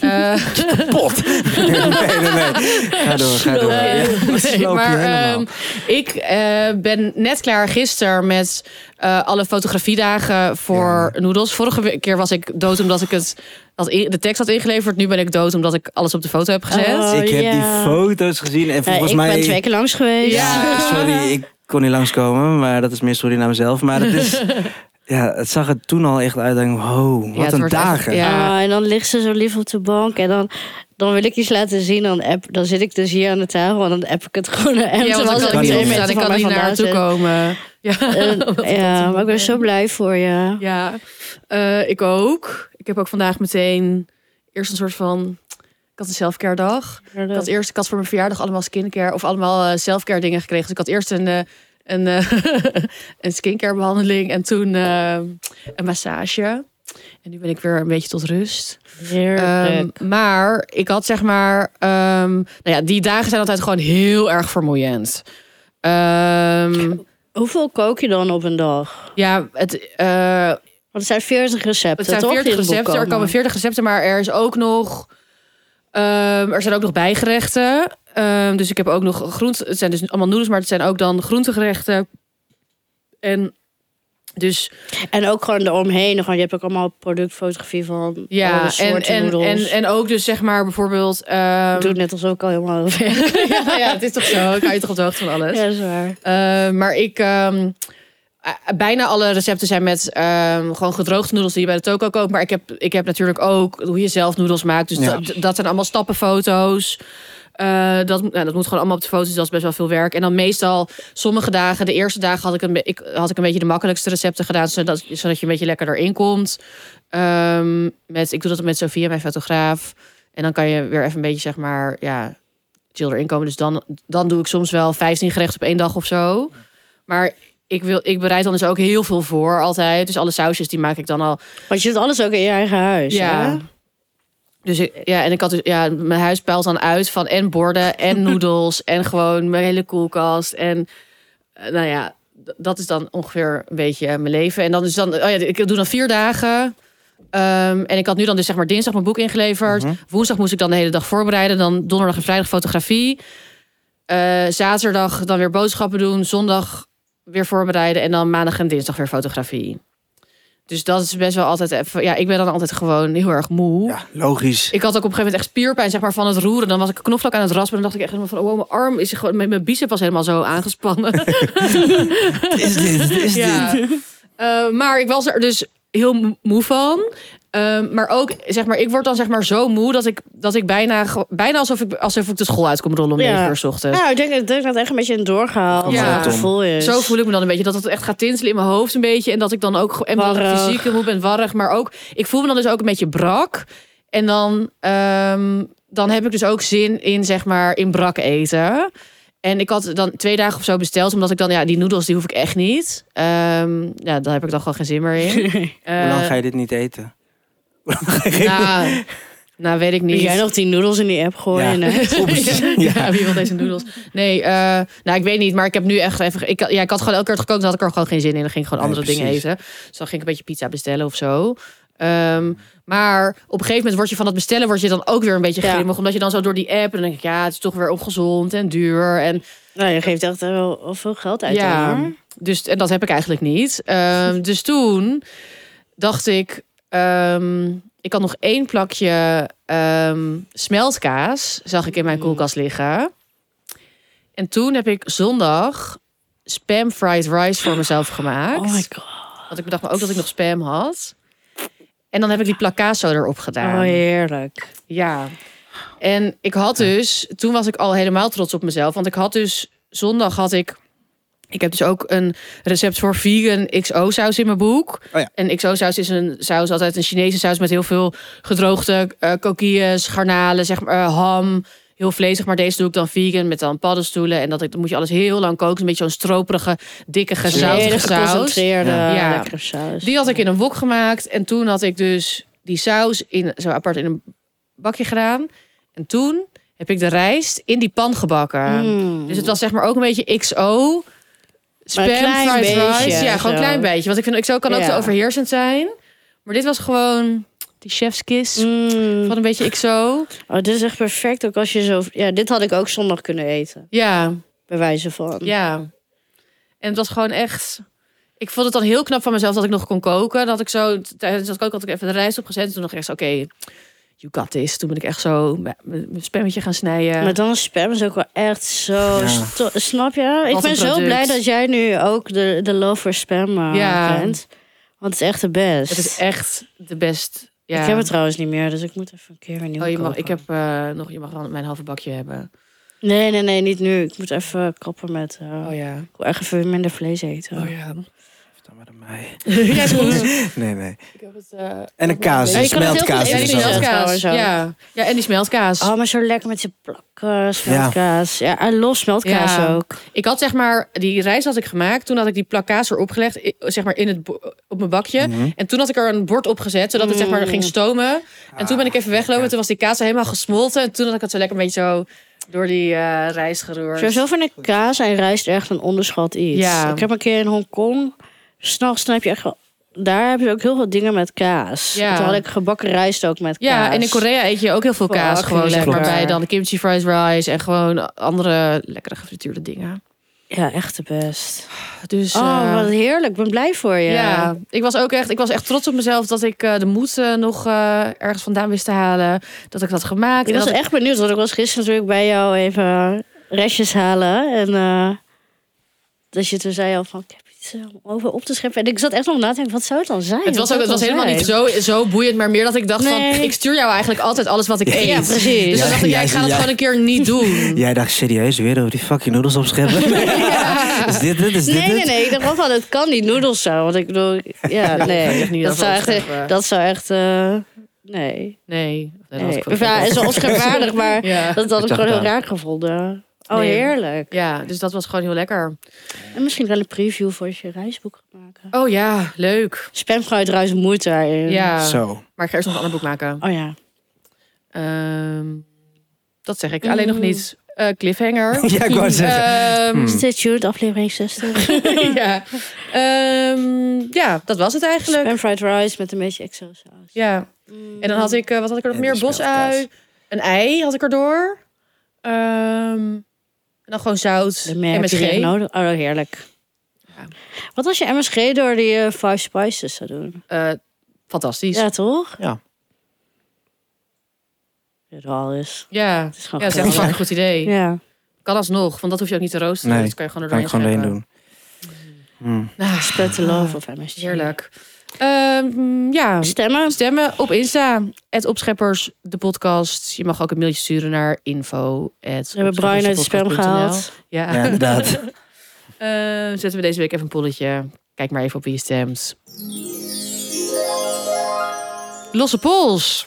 je. Eh, Pot. nee, nee, nee. Ga door, ga door. Ja, dat nee, sloop je maar helemaal. ehm, ik eh, ben net klaar gisteren met eh, alle fotografiedagen voor noedels. Vorige we- keer was ik dood omdat ik het, had in- de tekst had ingeleverd. Nu ben ik dood omdat ik alles op de foto heb gezet. Oh. ik heb ja. die foto's gezien en Ja, volgens ik mij... ben twee keer langs geweest. Ja. Sorry, ik kon niet langskomen, maar dat is meer sorry naar mezelf. Maar het is... Ja, het zag er toen al echt uit. Denk, ik, wow, Ja, het wat een wordt echt- dagen. ja. Ah, en dan ligt ze zo lief op de bank. En dan, dan wil ik iets laten zien. Dan, app, dan zit ik dus hier aan de tafel. En dan app ik het gewoon naar hem. Ja, want terwijl dan ze kan kan ik niet niet twee opstaan, opstaan. meter Ik van mij kan niet vandaan naartoe zit. komen. Ja, En, ja, maar ik ben zo blij voor je. ja. Eh, ik ook. Ik heb ook vandaag meteen eerst een soort van... Ik had een selfcare dag. Ik had eerst, ik had voor mijn verjaardag allemaal skincare... of allemaal eh, selfcare dingen gekregen. Dus ik had eerst een, eh, een, eh, een skincare behandeling... en toen eh, een massage. En nu ben ik weer een beetje tot rust. Heerlijk. Ehm, maar ik had zeg maar, ehm, nou ja, die dagen zijn altijd gewoon heel erg vermoeiend. Ehm, Hoeveel kook je dan op een dag? ja, het, eh, Want het zijn 40 recepten, het zijn toch? die 40 in het boek recepten. Er komen 40 recepten, maar er is ook nog Ehm, er zijn ook nog bijgerechten. Ehm, dus ik heb ook nog groenten. Het zijn dus allemaal noedels, maar het zijn ook dan groentegerechten. En dus En ook gewoon eromheen. Gewoon, je hebt ook allemaal productfotografie van ja, ja, alle en, soorten en, en, en ook dus zeg maar bijvoorbeeld. ehm, doe het net als ook al helemaal over. ja, ja, het is toch zo. Ik hou je toch op de hoogte van alles. Ja, dat is waar. Eh, maar ik. ehm, eh, bijna alle recepten zijn met ehm, gewoon gedroogde noedels die je bij de toko koopt. Maar ik heb, ik heb natuurlijk ook hoe je zelf noedels maakt. Dus Ja. dat, dat zijn allemaal stappenfoto's. Eh, dat, nou, dat moet gewoon allemaal op de foto's. Dus dat is best wel veel werk. En dan meestal sommige dagen, de eerste dagen had ik een, be- ik, had ik een beetje de makkelijkste recepten gedaan. Zodat, zodat je een beetje lekker erin komt. Ehm, met, ik doe dat met Sofia, mijn fotograaf. En dan kan je weer even een beetje, zeg maar, ja, chill erin komen. Dus dan, dan doe ik soms wel 15 gerechten op één dag of zo. Maar ik, wil, ik bereid dan dus ook heel veel voor altijd. Dus alle sausjes die maak ik dan al. Want je doet alles ook in je eigen huis. hè? Ja. Dus ik, ja, en ik had dus, ja, mijn huis pijlt dan uit van en borden en noedels en gewoon mijn hele koelkast. En eh, nou ja, d- dat is dan ongeveer een beetje eh, mijn leven. En dan is dan, oh ja, ik doe dan vier dagen. Ehm, en ik had nu dan dus zeg maar dinsdag mijn boek ingeleverd. Woensdag moest ik dan de hele dag voorbereiden. Dan donderdag en vrijdag fotografie. Eh, zaterdag dan weer boodschappen doen. Zondag weer voorbereiden. En dan maandag en dinsdag weer fotografie. Dus dat is best wel altijd even... Ja, ik ben dan altijd gewoon heel erg moe. Ja, logisch. Ik had ook op een gegeven moment echt spierpijn zeg maar, van het roeren. Dan was ik knoflook aan het raspen. En dacht ik echt helemaal van... Oh, mijn arm is gewoon... Mijn mijn bicep was helemaal zo aangespannen. Wat is dit? Wat is Ja. dit? Eh, maar ik was er dus heel moe- moe van. Eh, maar ook, zeg maar, ik word dan zeg maar zo moe dat ik, dat ik bijna, ge- bijna alsof ik, alsof ik de school uit kom rollen om Ja. 9 uur 's ochtends. Nou, ik denk, ik denk dat het echt een beetje een doorgehaald Ja. ja. gevoel is. Dus- Zo voel ik me dan een beetje. Dat het echt gaat tintelen in mijn hoofd een beetje. En dat ik dan ook ge- en dat ik Warrig. fysiek heel moe ben, warrig. Maar ook, ik voel me dan dus ook een beetje brak. En dan, ehm, dan heb ik dus ook zin in, zeg maar, in brak eten. En ik had dan twee dagen of zo besteld. Omdat ik dan, ja, die noedels, die hoef ik echt niet. Ehm, ja, daar heb ik dan gewoon geen zin meer in. Hoe lang Eh, ga je dit niet eten? Nou, nou weet ik Moet niet. jij nog die noedels in die app gooien? Ja. hè? ja, Ja. ja, wie wil deze noedels? Nee, eh, nou ik weet niet, maar ik heb nu echt even. Ik, ja, ik had gewoon elke keer het gekookt, dan had ik er gewoon geen zin in. Dan ging ik gewoon Nee, andere dingen precies. eten. Dus dan ging ik een beetje pizza bestellen of zo. Ehm, maar op een gegeven moment word je van dat bestellen, word je dan ook weer een beetje Ja. grimmig. Omdat je dan zo door die app en dan denk ik, ja, het is toch weer ongezond en duur. En Nou, je geeft echt wel veel geld uit. Ja. aan, hoor. Dus en dat heb ik eigenlijk niet. Ehm, dus toen dacht ik, ehm, ik had nog één plakje ehm, smeltkaas, zag ik in Mm. mijn koelkast liggen. En toen heb ik zondag spam fried rice voor mezelf gemaakt. Oh my god. Want ik bedacht me ook dat ik nog spam had. En dan heb ik die plak kaas zo erop gedaan. Oh, heerlijk. Ja. En ik had dus, toen was ik al helemaal trots op mezelf. Want ik had dus, zondag had ik, ik heb dus ook een recept voor vegan XO-saus in mijn boek. Oh ja. En XO-saus is een saus, altijd een Chinese saus met heel veel gedroogde eh coquilles, garnalen, zeg maar, eh, ham. Heel vlezig, maar deze doe ik dan vegan met dan paddenstoelen. En dat, ik- dan moet je alles heel lang koken. Een beetje zo'n stroperige, dikke, gezoutige Hele saus. geconcentreerde, Ja. lekkere saus. Die had ik in een wok gemaakt. En toen had ik dus die saus in, zo apart in een bakje gedaan. En toen heb ik de rijst in die pan gebakken. Mm. Dus het was zeg maar ook een beetje XO. Spam, Maar een klein fried rice. beetje, Ja, gewoon een zo. klein beetje. Want ik vind XO kan ook Ja. te overheersend zijn. Maar dit was gewoon die chefskiss Mm. van een beetje XO. Oh, dit is echt perfect. Ook als je zo... Ja, dit had ik ook zondag kunnen eten. Ja, Bij wijze van. ja. En het was gewoon echt... Ik vond het dan heel knap van mezelf dat ik nog kon koken. Dat ik zo tijdens dat koken had ik even de rijst opgezet. En toen nog echt, oké, you got this. Toen ben ik echt zo mijn mijn spammetje gaan snijden. Maar dan is spam is ook wel echt zo... Ja. sto- Snap je? Ik Wat ben een zo product. blij dat jij nu ook de, de love voor spam eh, Ja. kent. Want het is echt de best. Het is echt de best. Ja. Ik heb het trouwens niet meer, dus ik moet even een keer weer nieuw Oh, je mag, kopen. ik heb eh, nog, je mag wel mijn halve bakje hebben. Nee, nee, nee, niet nu. Ik moet even kappen met... eh, Oh, ja. Ik wil echt even minder vlees eten. Oh ja. Of dan maar aan mij. ja, is goed. Nee, nee. Ik heb het, eh, En een kaas, Ja, een je kan het heel smeltkaas. goed en die eten, sowieso. ja. smeltkaas. Ja. ja, en die smeltkaas. Oh, maar zo lekker met je plakken, smeltkaas. Ja, en los smeltkaas Ja. ook. Ik had zeg maar, die rijst had ik gemaakt. Toen had ik die plak kaas erop gelegd, i- zeg maar in het, bo- op mijn bakje. Mhm. En toen had ik er een bord op gezet, zodat het zeg maar Mm. ging stomen. En toen ben ik Ah, even weggelopen. Toen was die kaas helemaal gesmolten. En toen had ik het zo lekker een beetje zo door die eh, rijst geroerd. Sowieso vind ik kaas en rijst echt een onderschat iets. Ja. Ik heb een keer in Hongkong, s'nachts dan heb je echt wel daar hebben ze ook heel veel dingen met kaas. Ja. Toen had ik gebakken rijst ook met kaas. Ja, en in Korea eet je ook heel veel Fucking kaas. Gewoon zeg maar lekker. bij dan de kimchi fried rice en gewoon andere lekkere gefrituurde dingen. Ja, echt de best. Dus Oh, eh, wat heerlijk. Ik ben blij voor je. ja, ik was ook echt, ik was echt trots op mezelf dat ik eh, de moed eh, nog eh, ergens vandaan wist te halen. Dat ik dat gemaakt. Ik en was dat echt benieuwd, want ik was gisteren natuurlijk bij jou even restjes halen. En eh dat je toen zei al van, ik heb iets eh, om over op te scheppen. En ik zat echt nog na te denken, wat zou het dan zijn? Het was, Wat ook, zou het was helemaal dan niet zijn? zo, zo boeiend, maar meer dat ik dacht van... Nee. ik stuur jou eigenlijk altijd alles wat ik eet. Ja, precies. Dus dan Ja, dacht ik, ja, ik ja, ga dat ja. gewoon een keer niet doen. Jij dacht serieus weer over die fucking noedels opscheppen? Is dit het? Is dit Nee, het? nee, nee. Ik dacht wel van, het kan niet noedels zo. Want ik bedoel, ja, ik nee. echt niet dat, dat zou opscheppen. echt, dat zou echt, eh, nee. Nee. nee, dat nee. was ik ook Of Ja, niet. is wel opschepwaardig, maar ja. dat had ik Wat gewoon heel dacht je? raar gevonden. Oh, Nee. heerlijk. ja, dus dat was gewoon heel lekker. En misschien wel een preview voor als je reisboek gaat maken. Oh ja, leuk. Spamfruit ruis moeite daarin. Ja, Mm. Zo. maar ik ga eerst nog een ander boek maken. Oh ja. Ehm, dat zeg ik alleen nog Mm. niet. Eh, cliffhanger. Ja, ik wou zeggen. Ehm, Hmm. Stay tuned, aflevering 60. ja. Ehm, ja, dat was het eigenlijk. En fried rice met een beetje exo saus. Ja. En dan had Mhm. ik, eh, wat had ik er nog En meer? die Bosui, speelkaas. een ei had ik erdoor. Ehm en dan gewoon zout. de en met MSG geen. nodig. Oh, heerlijk. Ja. Wat als je MSG door die eh, Five Spices zou doen? Eh, fantastisch. Ja, Ja, toch? Ja. Ja, door alles. ja. Het is gewoon dat is echt een geweldig. fucking goed idee. Ja. Kan alsnog, want dat hoef je ook niet te roosteren. Nee, dat kan je gewoon Kan erdoor ik gewoon doorheen doen. Hmm. Spread the love of MSG. Heerlijk. Ehm, ja, Stemmen. stemmen op Insta. Het Opscheppers, de podcast. Je mag ook een mailtje sturen naar info. We hebben Brian uit de spam gehaald. Ja. Ja, inderdaad. Eh, zetten we deze week even een polletje. Kijk maar even op wie je stemt. Losse pols.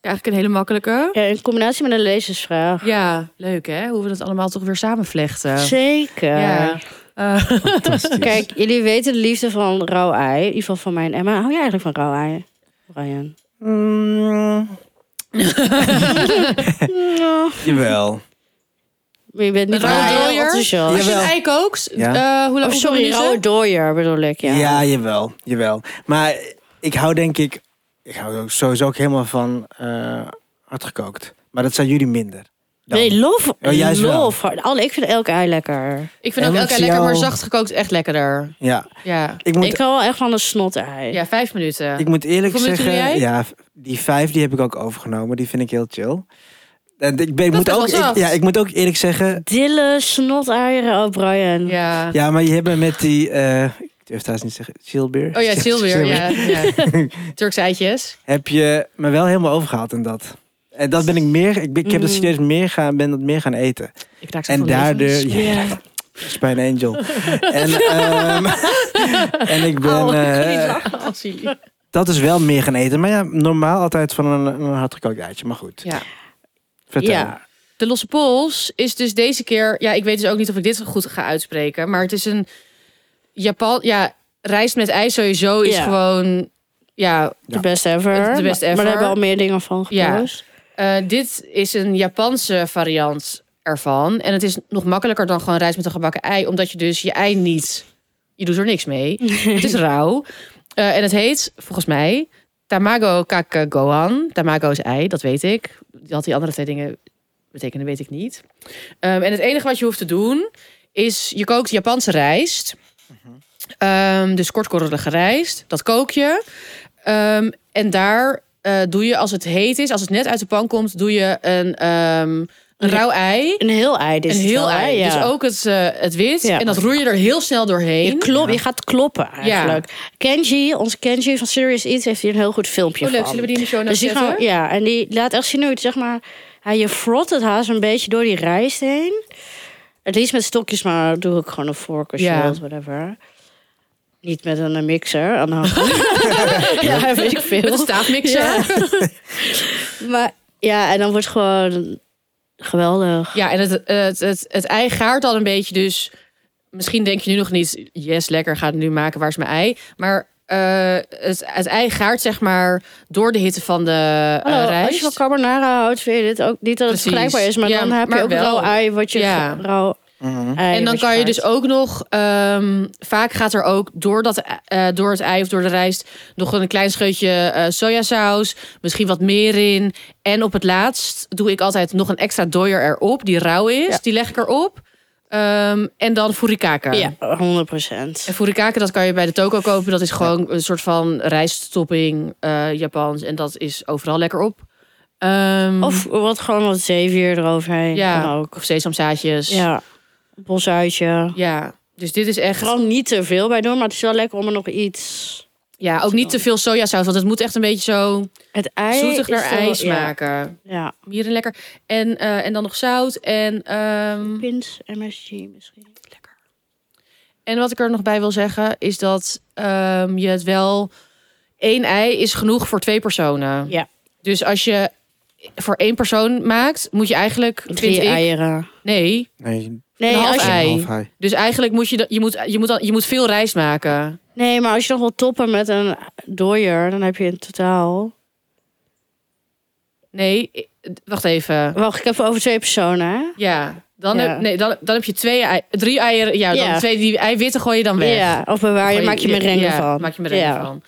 Eigenlijk een hele makkelijke. Ja, in combinatie met een lezersvraag. Ja, leuk hè? Hoe we dat allemaal toch weer samenvlechten. Zeker. Ja. Eh, Fantastisch. Kijk, jullie weten de liefde van rauw ei. In ieder geval van mij en Emma. Hou jij eigenlijk van rauw ei, Brian? Mm, Ja. jawel. Maar je bent niet Rauwe rauw dooier? enthousiast. Als je een Jawel. ei kookt, Ja. eh, hoe lang Oh, sorry, rauwe dooier bedoel ik, ja. Ja. jawel. Jawel. Maar ik hou denk ik... Ik hou ook sowieso ook helemaal van eh hardgekookt. Maar dat zijn jullie minder. Dan. Nee, love. Oh, juist wel. love. hard. Alle, ik vind elk ei lekker. Ik vind ook Ja, elke want ei lekker, jou- maar zacht gekookt echt lekkerder. Ja, Ja, ik moet, Ik hou wel echt van een snot ei. ja vijf minuten. ik moet eerlijk Hoeveel minuten zeggen... doe jij? Ja, die vijf die heb ik ook overgenomen. Die vind ik heel chill. En ik, ben, ik Dat moet is wel ook, ik- zacht. ja, ik moet ook eerlijk zeggen... Dille snot eieren, oh Brian. Ja. Ja, maar je hebt me met die... eh, ik durf thuis niet te zeggen. Chillbeer. Oh ja, silweer. Ja, ja. Turkse eitjes. heb je me wel helemaal overgehaald in dat. En dat ben ik meer, ik, ben- ik heb dat Mm. serieus meer gaan, ben dat meer gaan eten. Ik raak zo En van lezens. daardoor, ja, Ja. is bij een angel. en, ehm, en ik ben, Au, ik kan eh, niet lachen als jullie. dat is wel meer gaan eten. Maar ja, normaal altijd van een, een hardgekookt eitje, maar goed. Ja. Vertel. Ja. De Losse Pols is dus deze keer... Ja, ik weet dus ook niet of ik dit goed ga uitspreken. Maar het is een... Japan... Ja, rijst met ijs sowieso is Ja. gewoon... Ja, De best ever. De best Maar- Maar ever. daar hebben we al meer dingen van Ja. gepost. eh, dit is een Japanse variant ervan. En het is nog makkelijker dan gewoon rijst met een gebakken ei. Omdat je dus je ei niet... Je doet er niks mee. het is rauw. Eh, en het heet, volgens mij... Tamago kake gohan. Tamago is ei, dat weet ik. Dat die andere twee dingen betekenen, weet ik niet. Ehm, en het enige wat je hoeft te doen is je kookt Japanse rijst. Ehm, dus kortkorrelige rijst. Dat kook je. Ehm, en daar eh, doe je, als het heet is, als het net uit de pan komt, doe je een, ehm, een rauw ei. Een heel ei, dit Een is het heel wel, hè? ei. Ja. Dus ook het, eh, het wit. Ja. En dat roer je er heel snel Je, doorheen. klop, je gaat kloppen eigenlijk. Kenji, onze Kenji van Serious Eats, heeft hier een heel goed filmpje Oh, leuk. van. Zullen we die in de show notes Dus die zetten? gaan, ja, en die laat echt zien hoe het, zeg maar... Hij je frot het haast een beetje door die rijst heen. Het liefst met stokjes, maar doe ik gewoon een vork als Ja. je wilt, whatever. Niet met een eh, mixer aan de hand. ja, weet ik Met een veel. staafmixer. Ja. Ja. Maar ja, en dan wordt het gewoon geweldig. en het, het, het, het ei gaart al een beetje. Dus misschien denk je nu nog niet... Yes, lekker, ga het nu maken. Waar is mijn ei? Maar eh, het, het ei gaart zeg maar door de hitte van de eh, Hallo, Oh, als je rijst. van carbonara houdt, vind je dit ook niet dat het Precies. vergelijkbaar is. Maar Ja, dan heb maar je ook wel. rauw ei, wat je Ja. rauw Mhm. Ei en dan wat kan je maakt. dus ook nog, ehm, vaak gaat er ook door, dat, eh, door het ei of door de rijst nog een klein scheutje eh, sojasaus, misschien wat meer in. En op het laatst doe ik altijd nog een extra dooier erop, die rauw is, Ja. die leg ik erop. Ehm, en dan furikake. Ja, 100 En furikake, dat kan je bij de toko kopen. Dat is gewoon een soort van rijsttopping, eh, Japans. En dat is overal lekker op. Ehm, Of wat gewoon wat zeewier eroverheen. Ja. Kan ook. of sesamzaadjes. Ja, bosuitje. ja. Dus dit is echt... Vooral niet te veel bij doen, maar het is wel lekker om er nog iets... Ja, ook niet te veel sojasaus, want het moet echt een beetje zo Het ei zoetig naar is wel- ijs ja, maken. Ja, Hier een lekker. En, eh, en dan nog zout. En, ehm, pins, MSG misschien. en wat ik er nog bij wil zeggen, is dat ehm, je het wel... één ei is genoeg voor twee personen. Ja. Dus als je voor één persoon maakt, moet je eigenlijk... vind Drie ik, eieren. Nee. Nee, Nee, half als je, ei. half hij. Dus eigenlijk moet je, dat- je, moet, je, moet, al- je moet veel rijst maken. nee, maar als je nog wil toppen met een dooier, dan heb je in totaal... Nee, eh, wacht even. Wacht, ik heb het over twee personen, hè? Ja, dan, Ja. Heb, nee, dan, dan heb je twee ei, drie eieren. Ja, dan Ja. twee die eiwitten gooi je dan weg. Ja, of bewaar Ah, je, Gooi maak je merengue ja, van. Maak je merengue Ja. van.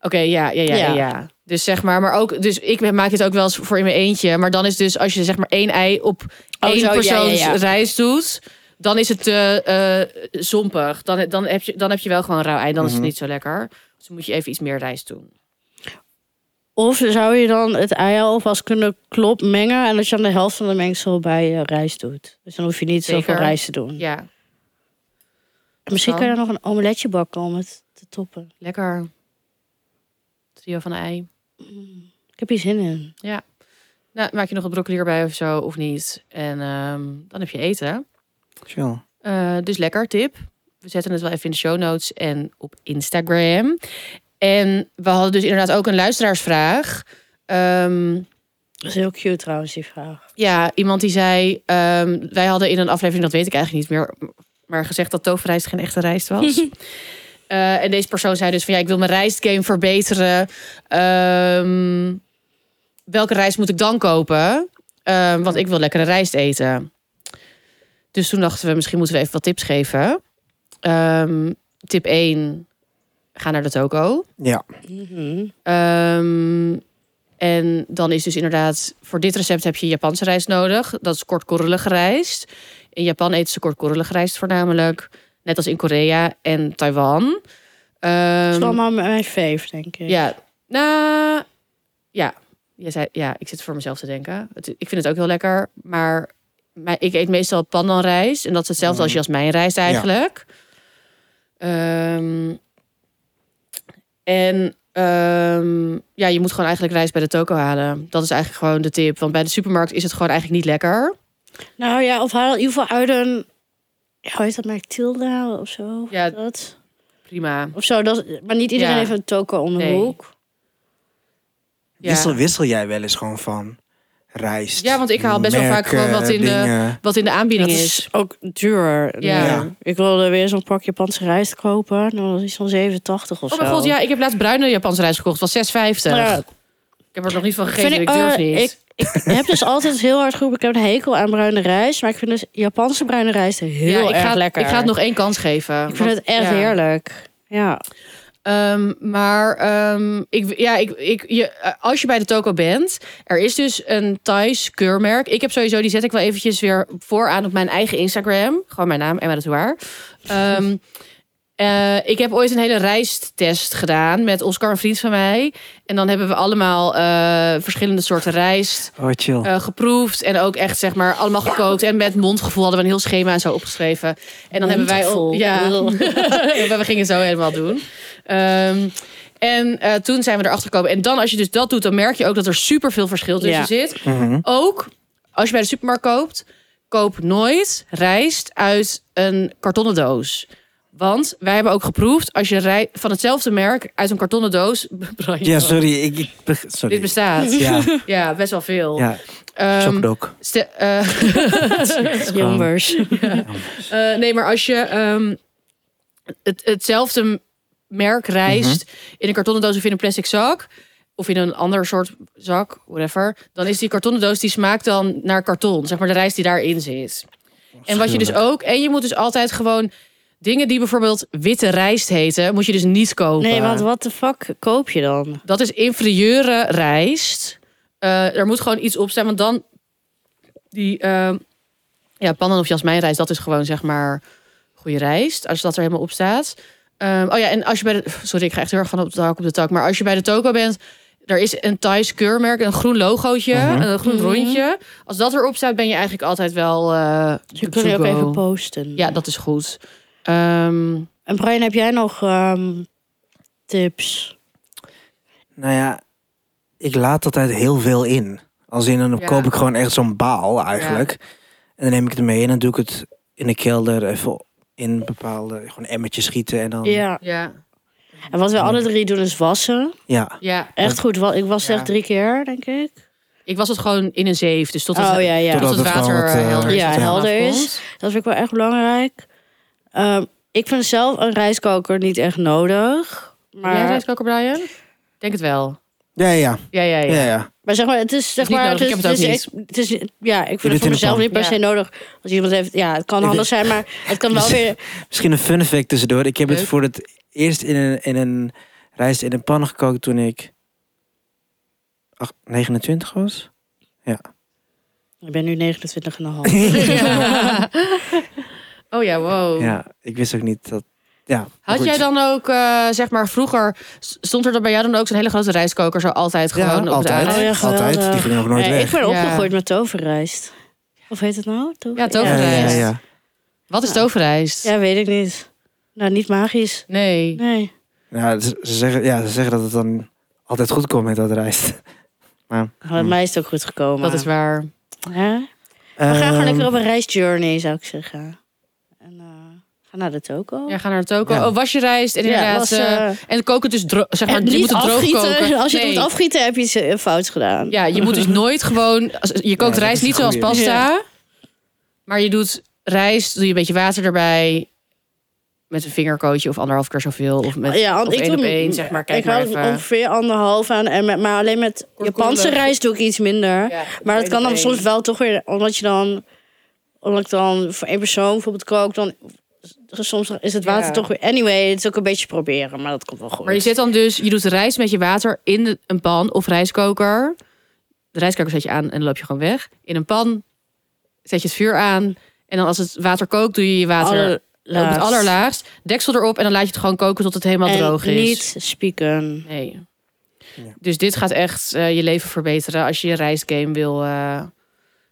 Oké, ja, ja, ja, ja, Ja. ja. Dus zeg maar, maar ook, dus ik maak dit ook wel eens voor in mijn eentje. Maar dan is dus als je zeg maar één ei op Oh, één zo, ja, ja, ja. persoons rijst doet, dan is het eh, eh, zompig. Dan, dan, heb je, dan heb je wel gewoon rauw ei, dan is het Mhm. niet zo lekker. Dus dan moet je even iets meer rijst doen. Of zou je dan het ei al alvast kunnen klop mengen en dat je dan de helft van de mengsel bij je rijst doet. Dus dan hoef je niet zoveel Zeker. rijst te doen. Ja, Misschien kan. kun je er nog een omeletje bakken om het te toppen. lekker. Trio van ei. Ik heb hier zin in. Nou, maak je nog een broccoli erbij of zo, of niet. En ehm, dan heb je eten. Chill. Eh, dus lekker, tip. We zetten het wel even in de show notes en op Instagram. En we hadden dus inderdaad ook een luisteraarsvraag. Ehm, Dat is heel cute trouwens, die vraag. ja, iemand die zei... ehm, wij hadden in een aflevering, dat weet ik eigenlijk niet meer... maar gezegd dat toverrijst geen echte rijst was. Eh, en deze persoon zei dus van... ja, ik wil mijn rijstgame verbeteren. Ehm, welke rijst moet ik dan kopen? Ehm, want ik wil lekkere rijst eten. Dus toen dachten we, misschien moeten we even wat tips geven. Ehm, tip 1, ga naar de toko. Ja. Mhm. Ehm, en dan is dus inderdaad, voor dit recept heb je Japanse rijst nodig. Dat is kortkorrelige rijst. In Japan eten ze kortkorrelige rijst voornamelijk. Net als in Korea en Taiwan. Ehm, Dat is allemaal mijn fave, denk ik. ja, nou, ja. Jij zei, ja, ik zit voor mezelf te denken. Het- ik vind het ook heel lekker, maar, maar ik eet meestal pandanrijst. En dat is hetzelfde als Mhm. Mm. jasmijnrijst eigenlijk. Ehm, en ehm, ja, je moet gewoon eigenlijk rijst bij de toko halen. Dat is eigenlijk gewoon de tip. Want bij de supermarkt is het gewoon eigenlijk niet lekker. Nou ja, of haal in ieder geval uit een... ja, Hoe heet dat merk? Tilda of zo? Ja. Dat. Prima. Of zo, dat, maar niet iedereen Ja. heeft een toko om de Nee. hoek. Ja. Wissel, wissel jij wel eens gewoon van rijst? Ja, want ik haal best wel vaak merken, gewoon wat in de- dingen. Wat in de aanbieding Dat is. is ook duur. Ja. Ja. Ik wilde weer zo'n pak Japanse rijst kopen. Nou, dat is zo'n 87 of Oh zo. Nou mijn god, ja, ik heb laatst bruine Japanse rijst gekocht. Het was 6,50. Ja. Ik heb er nog niet van gegeten, Vind ik, ik- durf eh, niet. ik- Ik heb dus altijd heel hard geroepen, ik heb een hekel aan bruine rijst. Maar ik vind dus Japanse bruine rijst heel ja, ik erg ga, lekker. Ik ga het nog één kans geven. Ik vind het echt ja. heerlijk. Ja. Ehm, maar ehm, ik, ja, ik, ik, je, eh, als je bij de toko bent, er is dus een Thais keurmerk. Ik heb sowieso, die zet ik wel eventjes weer vooraan op mijn eigen Instagram. Gewoon mijn naam, Emma de Touar. Ehm, eh, ik heb ooit een hele rijsttest gedaan met Oscar, een vriend van mij. En dan hebben we allemaal eh, verschillende soorten rijst Oh, chill. eh, geproefd. En ook echt, zeg maar, allemaal gekookt. En met mondgevoel hadden we een heel schema en zo opgeschreven. En dan hebben wij... Mondgevoel. ook ja, we gingen zo helemaal doen. Ehm, en eh, toen zijn we erachter gekomen. En dan als je dus dat doet, dan merk je ook dat er super veel verschil tussen Ja. zit. Mhm. Ook als je bij de supermarkt koopt, koop nooit rijst uit een kartonnen doos. Want wij hebben ook geproefd, als je rij- van hetzelfde merk uit een kartonnen doos... Brian, Ja, sorry. Ik, ik, beg- Dit sorry. bestaat. Ja, Ja, best wel veel. ja. Ehm, Chocdoc. Ste- eh, Jambers. eh, nee, maar als je ehm, het, hetzelfde merk rijst in een kartonnen doos of in een plastic zak of in een ander soort zak, whatever, dan is die kartonnen doos die smaakt dan naar karton, zeg maar de rijst die daarin zit. En wat je dus ook... En je moet dus altijd gewoon... Dingen die bijvoorbeeld witte rijst heten, moet je dus niet kopen. Nee, want wat de fuck koop je dan? Dat is inferieure rijst. Eh, er moet gewoon iets op staan, want dan die eh, ja, pannen of jasmijnrijst, dat is gewoon zeg maar goede rijst, als dat er helemaal op staat. Ehm, oh ja, en als je bij de sorry, ik ga echt heel erg van op de tak op de tak, maar als je bij de toko bent, er is een Thais keurmerk, een groen logootje, Mhm. een groen Mhm. rondje. Als dat erop staat, ben je eigenlijk altijd wel. eh, Dus je to kunt je ook go. even posten. Ja, dat is goed. Ehm, En Brian, heb jij nog ehm, tips? Nou ja, ik laat altijd heel veel in. Als in, dan Ja. koop ik gewoon echt zo'n baal eigenlijk. En dan neem ik het mee en dan doe ik het in de kelder even in bepaalde gewoon emmertjes schieten en dan Ja. ja, En wat we alle drie doen is wassen. ja. ja. Echt goed. wa- Ik was Ja. echt drie keer, denk ik. Ik was het gewoon in een zeef, dus tot het, oh ja, ja. tot Totdat het het gewoon water wat, eh, eh, helder is. ja, dat het helder vanaf is. komt. Dat vind ik wel echt belangrijk. Ehm, ik vind zelf een rijstkoker niet echt nodig. Maar... Jij Maar, rijstkoker, Brian? Denk het wel. Ja, ja, Ja, ja, ja. ja. ja, ja. maar zeg maar, het is zeg is niet maar... nodig, ik is- heb het ook is- het is, ja, ik doet het vind het in voor de mezelf pan. niet per se Ja. nodig. Als iemand heeft... Ja, het kan Ik handig weet- zijn, maar het kan wel weer... Misschien een fun fact tussendoor. Ik heb Leuk. het voor het eerst in een, in een rijst in een pan gekookt toen ik acht- 29 was. Ik ben nu 29 en een half. oh ja, wow. Ja, ik wist ook niet dat. Ja, maar Had goed. jij dan ook, eh, zeg maar, vroeger s- stond er dan bij jou dan ook zo'n hele grote rijstkoker zo altijd Ja, gewoon op altijd. het Oh aanrecht? ja, geweldig. altijd. Die ging ook nooit Nee, ik weg. ben Ja. opgegroeid met toverrijst. Of heet het nou? Ja, Ja, toverrijst. ja, ja. Wat is toverrijst? Ja, weet ik niet. Nou, niet magisch. Nee. Nee. Ja, ze ze zeggen, ja, ze zeggen dat het dan altijd goed komt met dat rijst. Maar, Bij mij is het ook goed gekomen. Dat is waar. Hè? We gaan gewoon Ehm, lekker op een reisjourney, zou ik zeggen. En eh, ga naar de toko. Ja, ga naar de toko. Ja. Oh, was je rijst en Ja, inderdaad. was, eh, eh, en koken dus, dro- zeg maar, en je niet moet het droog afgieten. koken. Als je het Nee. moet afgieten, heb je iets eh, fouts gedaan. Ja, je moet dus nooit gewoon. als- Je kookt dat is rijst niet een zoals goeie. pasta. Maar je doet rijst, doe je een beetje water erbij. Met een vingerkootje of anderhalf keer zoveel. Of met Ja, want of ik één doe- op één, zeg maar. Kijk ik maar hou even. eh. ongeveer anderhalf aan. En met, maar alleen met Japanse koelen. rijst doe ik iets minder. Ja, Maar dat één kan op dan één. soms wel toch weer, omdat je dan, omdat ik dan voor één persoon bijvoorbeeld kook, dan soms is het water Ja. toch weer. Anyway, het is ook een beetje proberen, maar dat komt wel goed. Maar je zet dan dus, je doet rijst met je water in de- een pan of rijstkoker. De rijstkoker zet je aan en dan loop je gewoon weg. In een pan zet je het vuur aan. En dan als het water kookt, doe je je water op het allerlaagst. Deksel erop en dan laat je het gewoon koken tot het helemaal en droog is. niet spieken. Nee. Ja. Dus dit gaat echt eh, je leven verbeteren als je je reisgame wil, eh,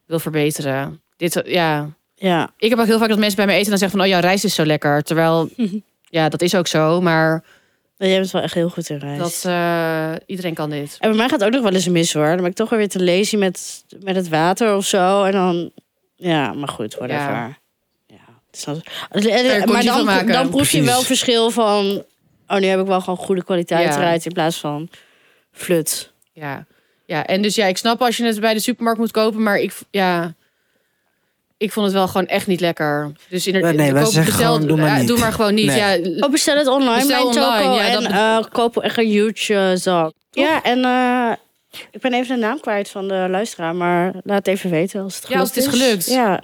wil verbeteren. Dit, eh, ja. Ja, Ik heb ook heel vaak dat mensen bij me eten en dan zeggen van... oh, jouw rijst is zo lekker. Terwijl, ja, dat is ook zo. Maar jij bent wel echt heel goed in rijst. dat, eh, iedereen kan dit. En bij mij gaat het ook nog wel eens mis hoor. Dan ben ik toch wel weer te lazy met, met het water of zo. En dan, ja, maar goed, whatever. Ja. het is dan- je maar conditie dan, van maken. dan proef je Precies. wel verschil van... Oh, nu heb ik wel gewoon goede kwaliteit Ja. rijst in plaats van flut. Ja. ja, en dus ja, ik snap als je het bij de supermarkt moet kopen... maar ik, ja, ik vond het wel gewoon echt niet lekker. Dus in Ja, nee, wij zeggen gewoon, doe maar niet. eh, doe maar gewoon niet. Nee. Ja, Oh, bestel het online Bestel bij Toko. online, ja, en dat eh, koop echt een huge eh, zak. Ja, en eh, ik ben even de naam kwijt van de luisteraar. Maar laat even weten als het Ja, als gelukt het is gelukt. Ja.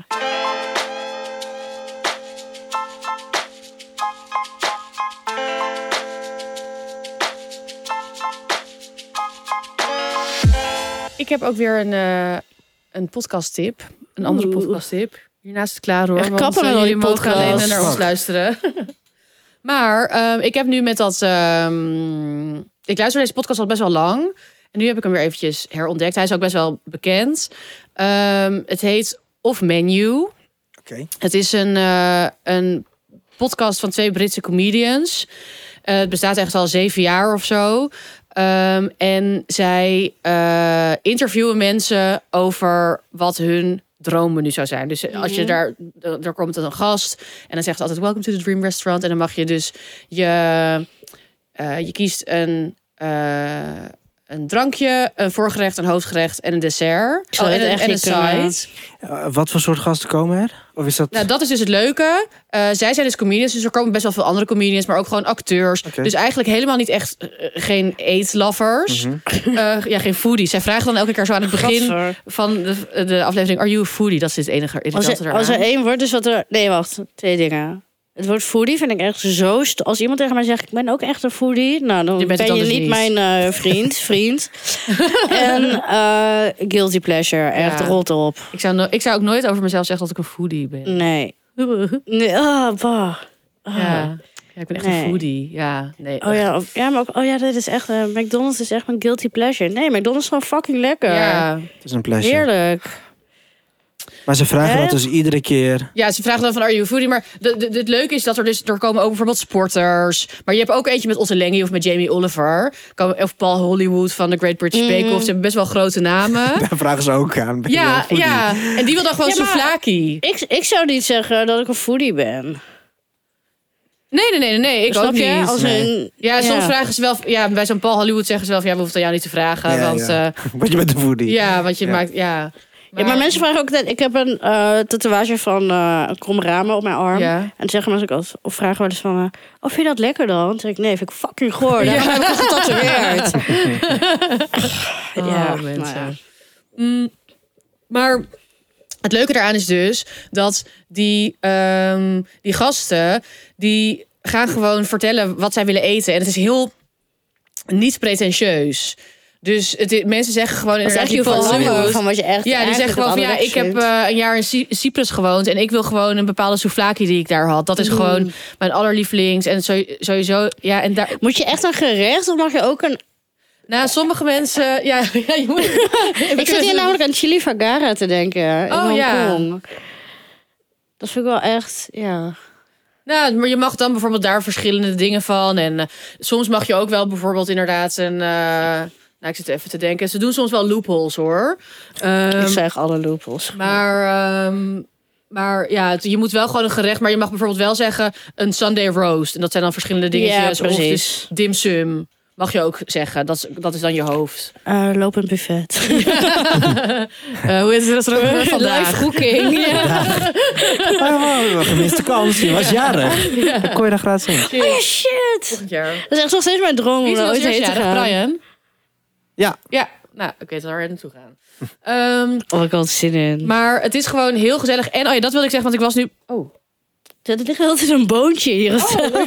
Ik heb ook weer een, eh een podcast tip. Een andere Oeh. podcast tip. Hiernaast is het klaar hoor. Echt want kappen eh, met al die jullie mogen alleen podcasts. naar ons Fuck. luisteren. maar ehm, ik heb nu met dat... ehm, ik luister deze podcast al best wel lang. En nu heb ik hem weer eventjes herontdekt. Hij is ook best wel bekend. Ehm, het heet Off Menu. Oké. Het is een, eh, een podcast van twee Britse comedians. Eh, het bestaat echt al zeven jaar of zo. Ehm, en zij eh, interviewen mensen over wat hun droommenu zou zijn. Dus als je Mhm. daar, d- daar komt dan een gast en dan zegt ze altijd welcome to the dream restaurant. En dan mag je dus je, eh, je kiest een, eh, een drankje, een voorgerecht, een hoofdgerecht en een dessert. Oh, zou en het een, echt en een niet kunnen. side. Eh, wat voor soort gasten komen er? Of is dat... Nou, dat is dus het leuke. Eh, zij zijn dus comedians, dus er komen best wel veel andere comedians, maar ook gewoon acteurs. Oké. Dus eigenlijk helemaal niet echt eh, geen eetlovers. Mhm. Eh, ja, geen foodies. Zij vragen dan elke keer zo aan het begin Gadver. van de, de aflevering... Are you a foodie? Dat is het enige Als irritante er, als er daaraan. één woord is wat er... Nee, wacht. Twee dingen. Het woord foodie vind ik echt zo... st- Als iemand tegen mij zegt, ik ben ook echt een foodie... Nou, dan Je bent ben het je dan dus niet, niet. mijn eh, vriend. vriend. en eh, guilty pleasure. Echt Ja. rot op. Ik zou, no- ik zou ook nooit over mezelf zeggen dat ik een foodie ben. Nee. Nee, ah, bah. Ah. Ja. Ja, ik ben echt Nee. een foodie. Ja, nee. Oh ja, of- ja, maar ook, oh ja, dit is echt, eh, McDonald's is echt mijn guilty pleasure. Nee, McDonald's is gewoon fucking lekker. Ja. Het is een pleasure. Heerlijk. Maar ze vragen Hè? dat dus iedere keer. Ja, ze vragen dan van are you a foodie? Maar de- de- de- het leuke is dat er dus er komen ook bijvoorbeeld sporters. Maar je hebt ook eentje met Otte Lengi of met Jamie Oliver. Komen- Of Paul Hollywood van The Great British Bake Off. Ze hebben best wel grote namen. Daar vragen ze ook aan. Ben je ja, een foodie? ja. En die wil dan gewoon Ja, maar- souvlaki. Ik, ik zou niet zeggen dat ik een foodie ben. Nee, nee, nee, nee, nee. Ik Snap ook je? niet. Als Nee. een, Ja, soms Ja. vragen ze wel... Ja, bij zo'n Paul Hollywood zeggen ze wel van... Ja, we hoeven het aan jou niet te vragen. Ja, want ja. ja, Want je bent een foodie. ja want je Ja. maakt... Ja. ja, maar mensen vragen ook dat ik heb een eh, tatoeage van eh een krom ramen op mijn arm. Ja. En dan zeggen mensen ook als, of vragen wel eens van, eh, oh, vind je dat lekker dan? Dan zeg ik, nee, vind ik fucking goor. Daarom heb ik het getatoeëerd. Oh, ja, mensen. nou ja. Mm, maar het leuke daaraan is dus dat die, ehm, die gasten die gaan gewoon vertellen wat zij willen eten. En het is heel niet pretentieus. Dus het, i- mensen zeggen gewoon Dat is inderdaad, echt je die Paul verlangen Hollywood- van wat je echt ja, die zeggen gewoon van ja, ik heb eh, een jaar in Cy- Cyprus gewoond en ik wil gewoon een bepaalde souvlaki die ik daar had. Dat is Mm. gewoon mijn allerlievelings en zo- sowieso ja en daar Moet je echt een gerecht of mag je ook een... nou sommige mensen ja, ja je moet Ik zit hier namelijk aan chili vagara te denken. eh, In Oh, Hongkong. ja. Dat vind ik wel echt, ja. Nou, maar je mag dan bijvoorbeeld daar verschillende dingen van. En eh, soms mag je ook wel bijvoorbeeld inderdaad een... eh, nou, ik zit even te denken. Ze doen soms wel loopholes, hoor. Ehm, ik zeg alle loopholes. maar, ehm, maar ja, het- je moet wel gewoon een gerecht... Maar je mag bijvoorbeeld wel zeggen een Sunday roast. En dat zijn dan verschillende dingetjes. Ja, precies. Of dus dim sum mag je ook zeggen. Dat is, dat is dan je hoofd. Eh, loop een buffet. Eh, hoe is het restaurant vandaag? Live cooking. Oh, wow, gemiste kans. Je was jarig. Dan kon je daar graag zien. Oh, shit. Volgend jaar. Dat is echt nog steeds mijn droom om Wie is er er als ooit heen te eerste jarig? gaan. Brian? Ja. Ja, nou, oké, dan waar je naartoe gaan. Ehm, Oh, ik had zin in. Maar Maar het is gewoon heel gezellig. En oh ja, dat wil ik zeggen, want ik was nu. Oh, er ligt altijd een boontje hier. ik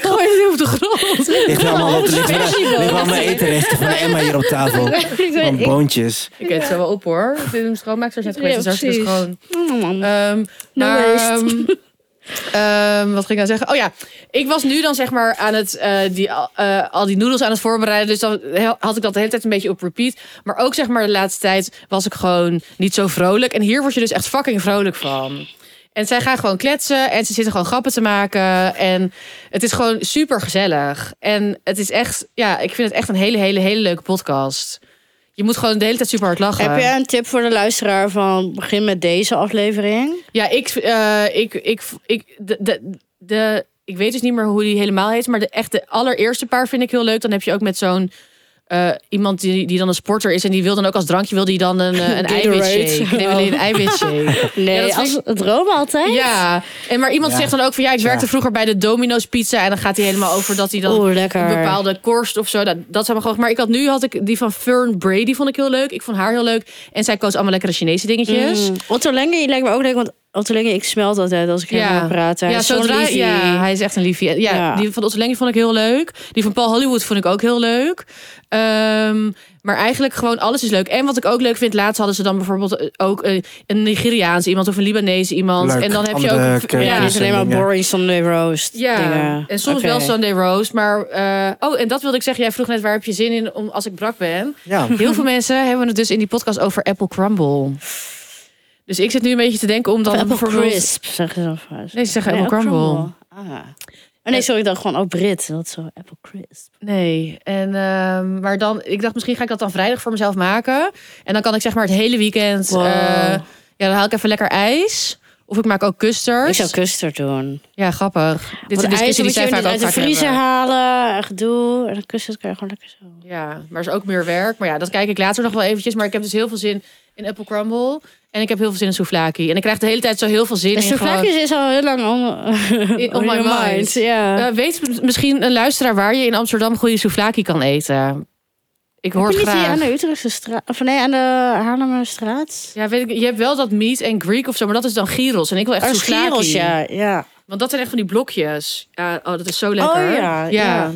gooi het nu op de grond. Ligt allemaal op de ligt Sushi wel- bowl. ligt allemaal etenresten van Emma hier op tafel. ik Van weet ik... boontjes. Ik eet het zo wel op hoor. Dit is een schoonmaakster net Ja, geweest. dus hartstikke precies. schoon. Mm, man. Ehm, No maar, waste. ehm, ehm, wat ging ik nou zeggen? Oh ja, ik was nu dan zeg maar aan het eh, die, al- eh, al die noedels aan het voorbereiden. Dus dan he- had ik dat de hele tijd een beetje op repeat. Maar ook zeg maar de laatste tijd was ik gewoon niet zo vrolijk. En hier word je dus echt fucking vrolijk van. En zij gaan gewoon kletsen en ze zitten gewoon grappen te maken. En het is gewoon super gezellig. En het is echt, ja, ik vind het echt een hele, hele, hele leuke podcast. Je moet gewoon de hele tijd super hard lachen. Heb jij een tip voor de luisteraar van begin met deze aflevering? Ja, ik, eh, ik, ik, ik, de, de, de, ik weet dus niet meer hoe die helemaal heet. Maar de, echt de allereerste paar vind ik heel leuk. Dan heb je ook met zo'n eh, iemand die, die dan een sporter is. En die wil dan ook als drankje wil die dan een, eh, een Gatorade. eiwitshake. Nee, wil die een eiwitshake. Nee, dat vind als, ik- het droom altijd? ja, en maar iemand Ja. zegt dan ook van ja, ik Ja. werkte vroeger bij de Domino's Pizza. En dan gaat hij helemaal over dat hij dan Oeh, een lekker. bepaalde korst of zo. Dat, dat zijn maar gewoon. Maar ik had nu had ik die van Fern Brady vond ik heel leuk. Ik vond haar heel leuk. En zij koos allemaal lekkere Chinese dingetjes. Mm. Otto Lenge lijkt me ook leuk, want Otto Lenge, ik smelt altijd als ik hem Ja. hoor praten. Hij Ja, is zo'n zodra, liefie. ja, hij is echt een liefie. Ja, Ja. die van Otto Lengi vond ik heel leuk. Die van Paul Hollywood vond ik ook heel leuk. Ehm, maar eigenlijk gewoon alles is leuk. En wat ik ook leuk vind, laatst hadden ze dan bijvoorbeeld eh, ook eh, een Nigeriaans iemand of een Libanese iemand. Leuk. En dan heb je Andere ook... Ja, keuzes. Ja, niet alleen maar dingen. boring Sunday roast ja. dingen. en soms Oké. wel Sunday roast. Maar, eh, oh, en dat wilde ik zeggen. Jij vroeg net waar heb je zin in om, als ik brak ben. Ja. Heel veel mensen hebben het dus in die podcast over Apple Crumble. Dus ik zit nu een beetje te denken om dan Of Apple bijvoorbeeld- Crisp, zeggen ze dan vast. Nee, ze zeggen Apple Crumble. Ah. Oh, nee, sorry, ik dacht gewoon, oh Brit, dat is zo Apple Crisp. Nee, en, ehm, maar dan, ik dacht misschien ga ik dat dan vrijdag voor mezelf maken. En dan kan ik zeg maar het hele weekend, Wow. eh, ja, dan haal ik even lekker ijs. Of ik maak ook custers. Ik zou custard doen. Ja, grappig. Dit Want is een ijs discussie die moet zij je vaak ook uit de vaak vriezer hebben. halen. en Gedoe. En dan custard kan je gewoon lekker zo. Ja, maar is ook meer werk. Maar ja, dat kijk ik later nog wel eventjes. Maar ik heb dus heel veel zin in apple crumble. En ik heb heel veel zin in souvlaki. En ik krijg de hele tijd zo heel veel zin Dus De in gewoon... souvlakjes is al heel lang on, In- on my your mind. Ja. Eh, weet m- misschien een luisteraar waar je in Amsterdam goede souvlaki kan eten. Ik hoor Heb je niet die graag. aan de Utrechtse straat? Of nee, aan de Haarlemmerstraat? Ja, weet ik, je hebt wel dat meat en Greek of zo, maar dat is dan gyros. En ik wil echt Oh, souvlaki. Schierels, ja. ja. Want dat zijn echt van die blokjes. Ja, oh, dat is zo lekker. Oh ja, ja.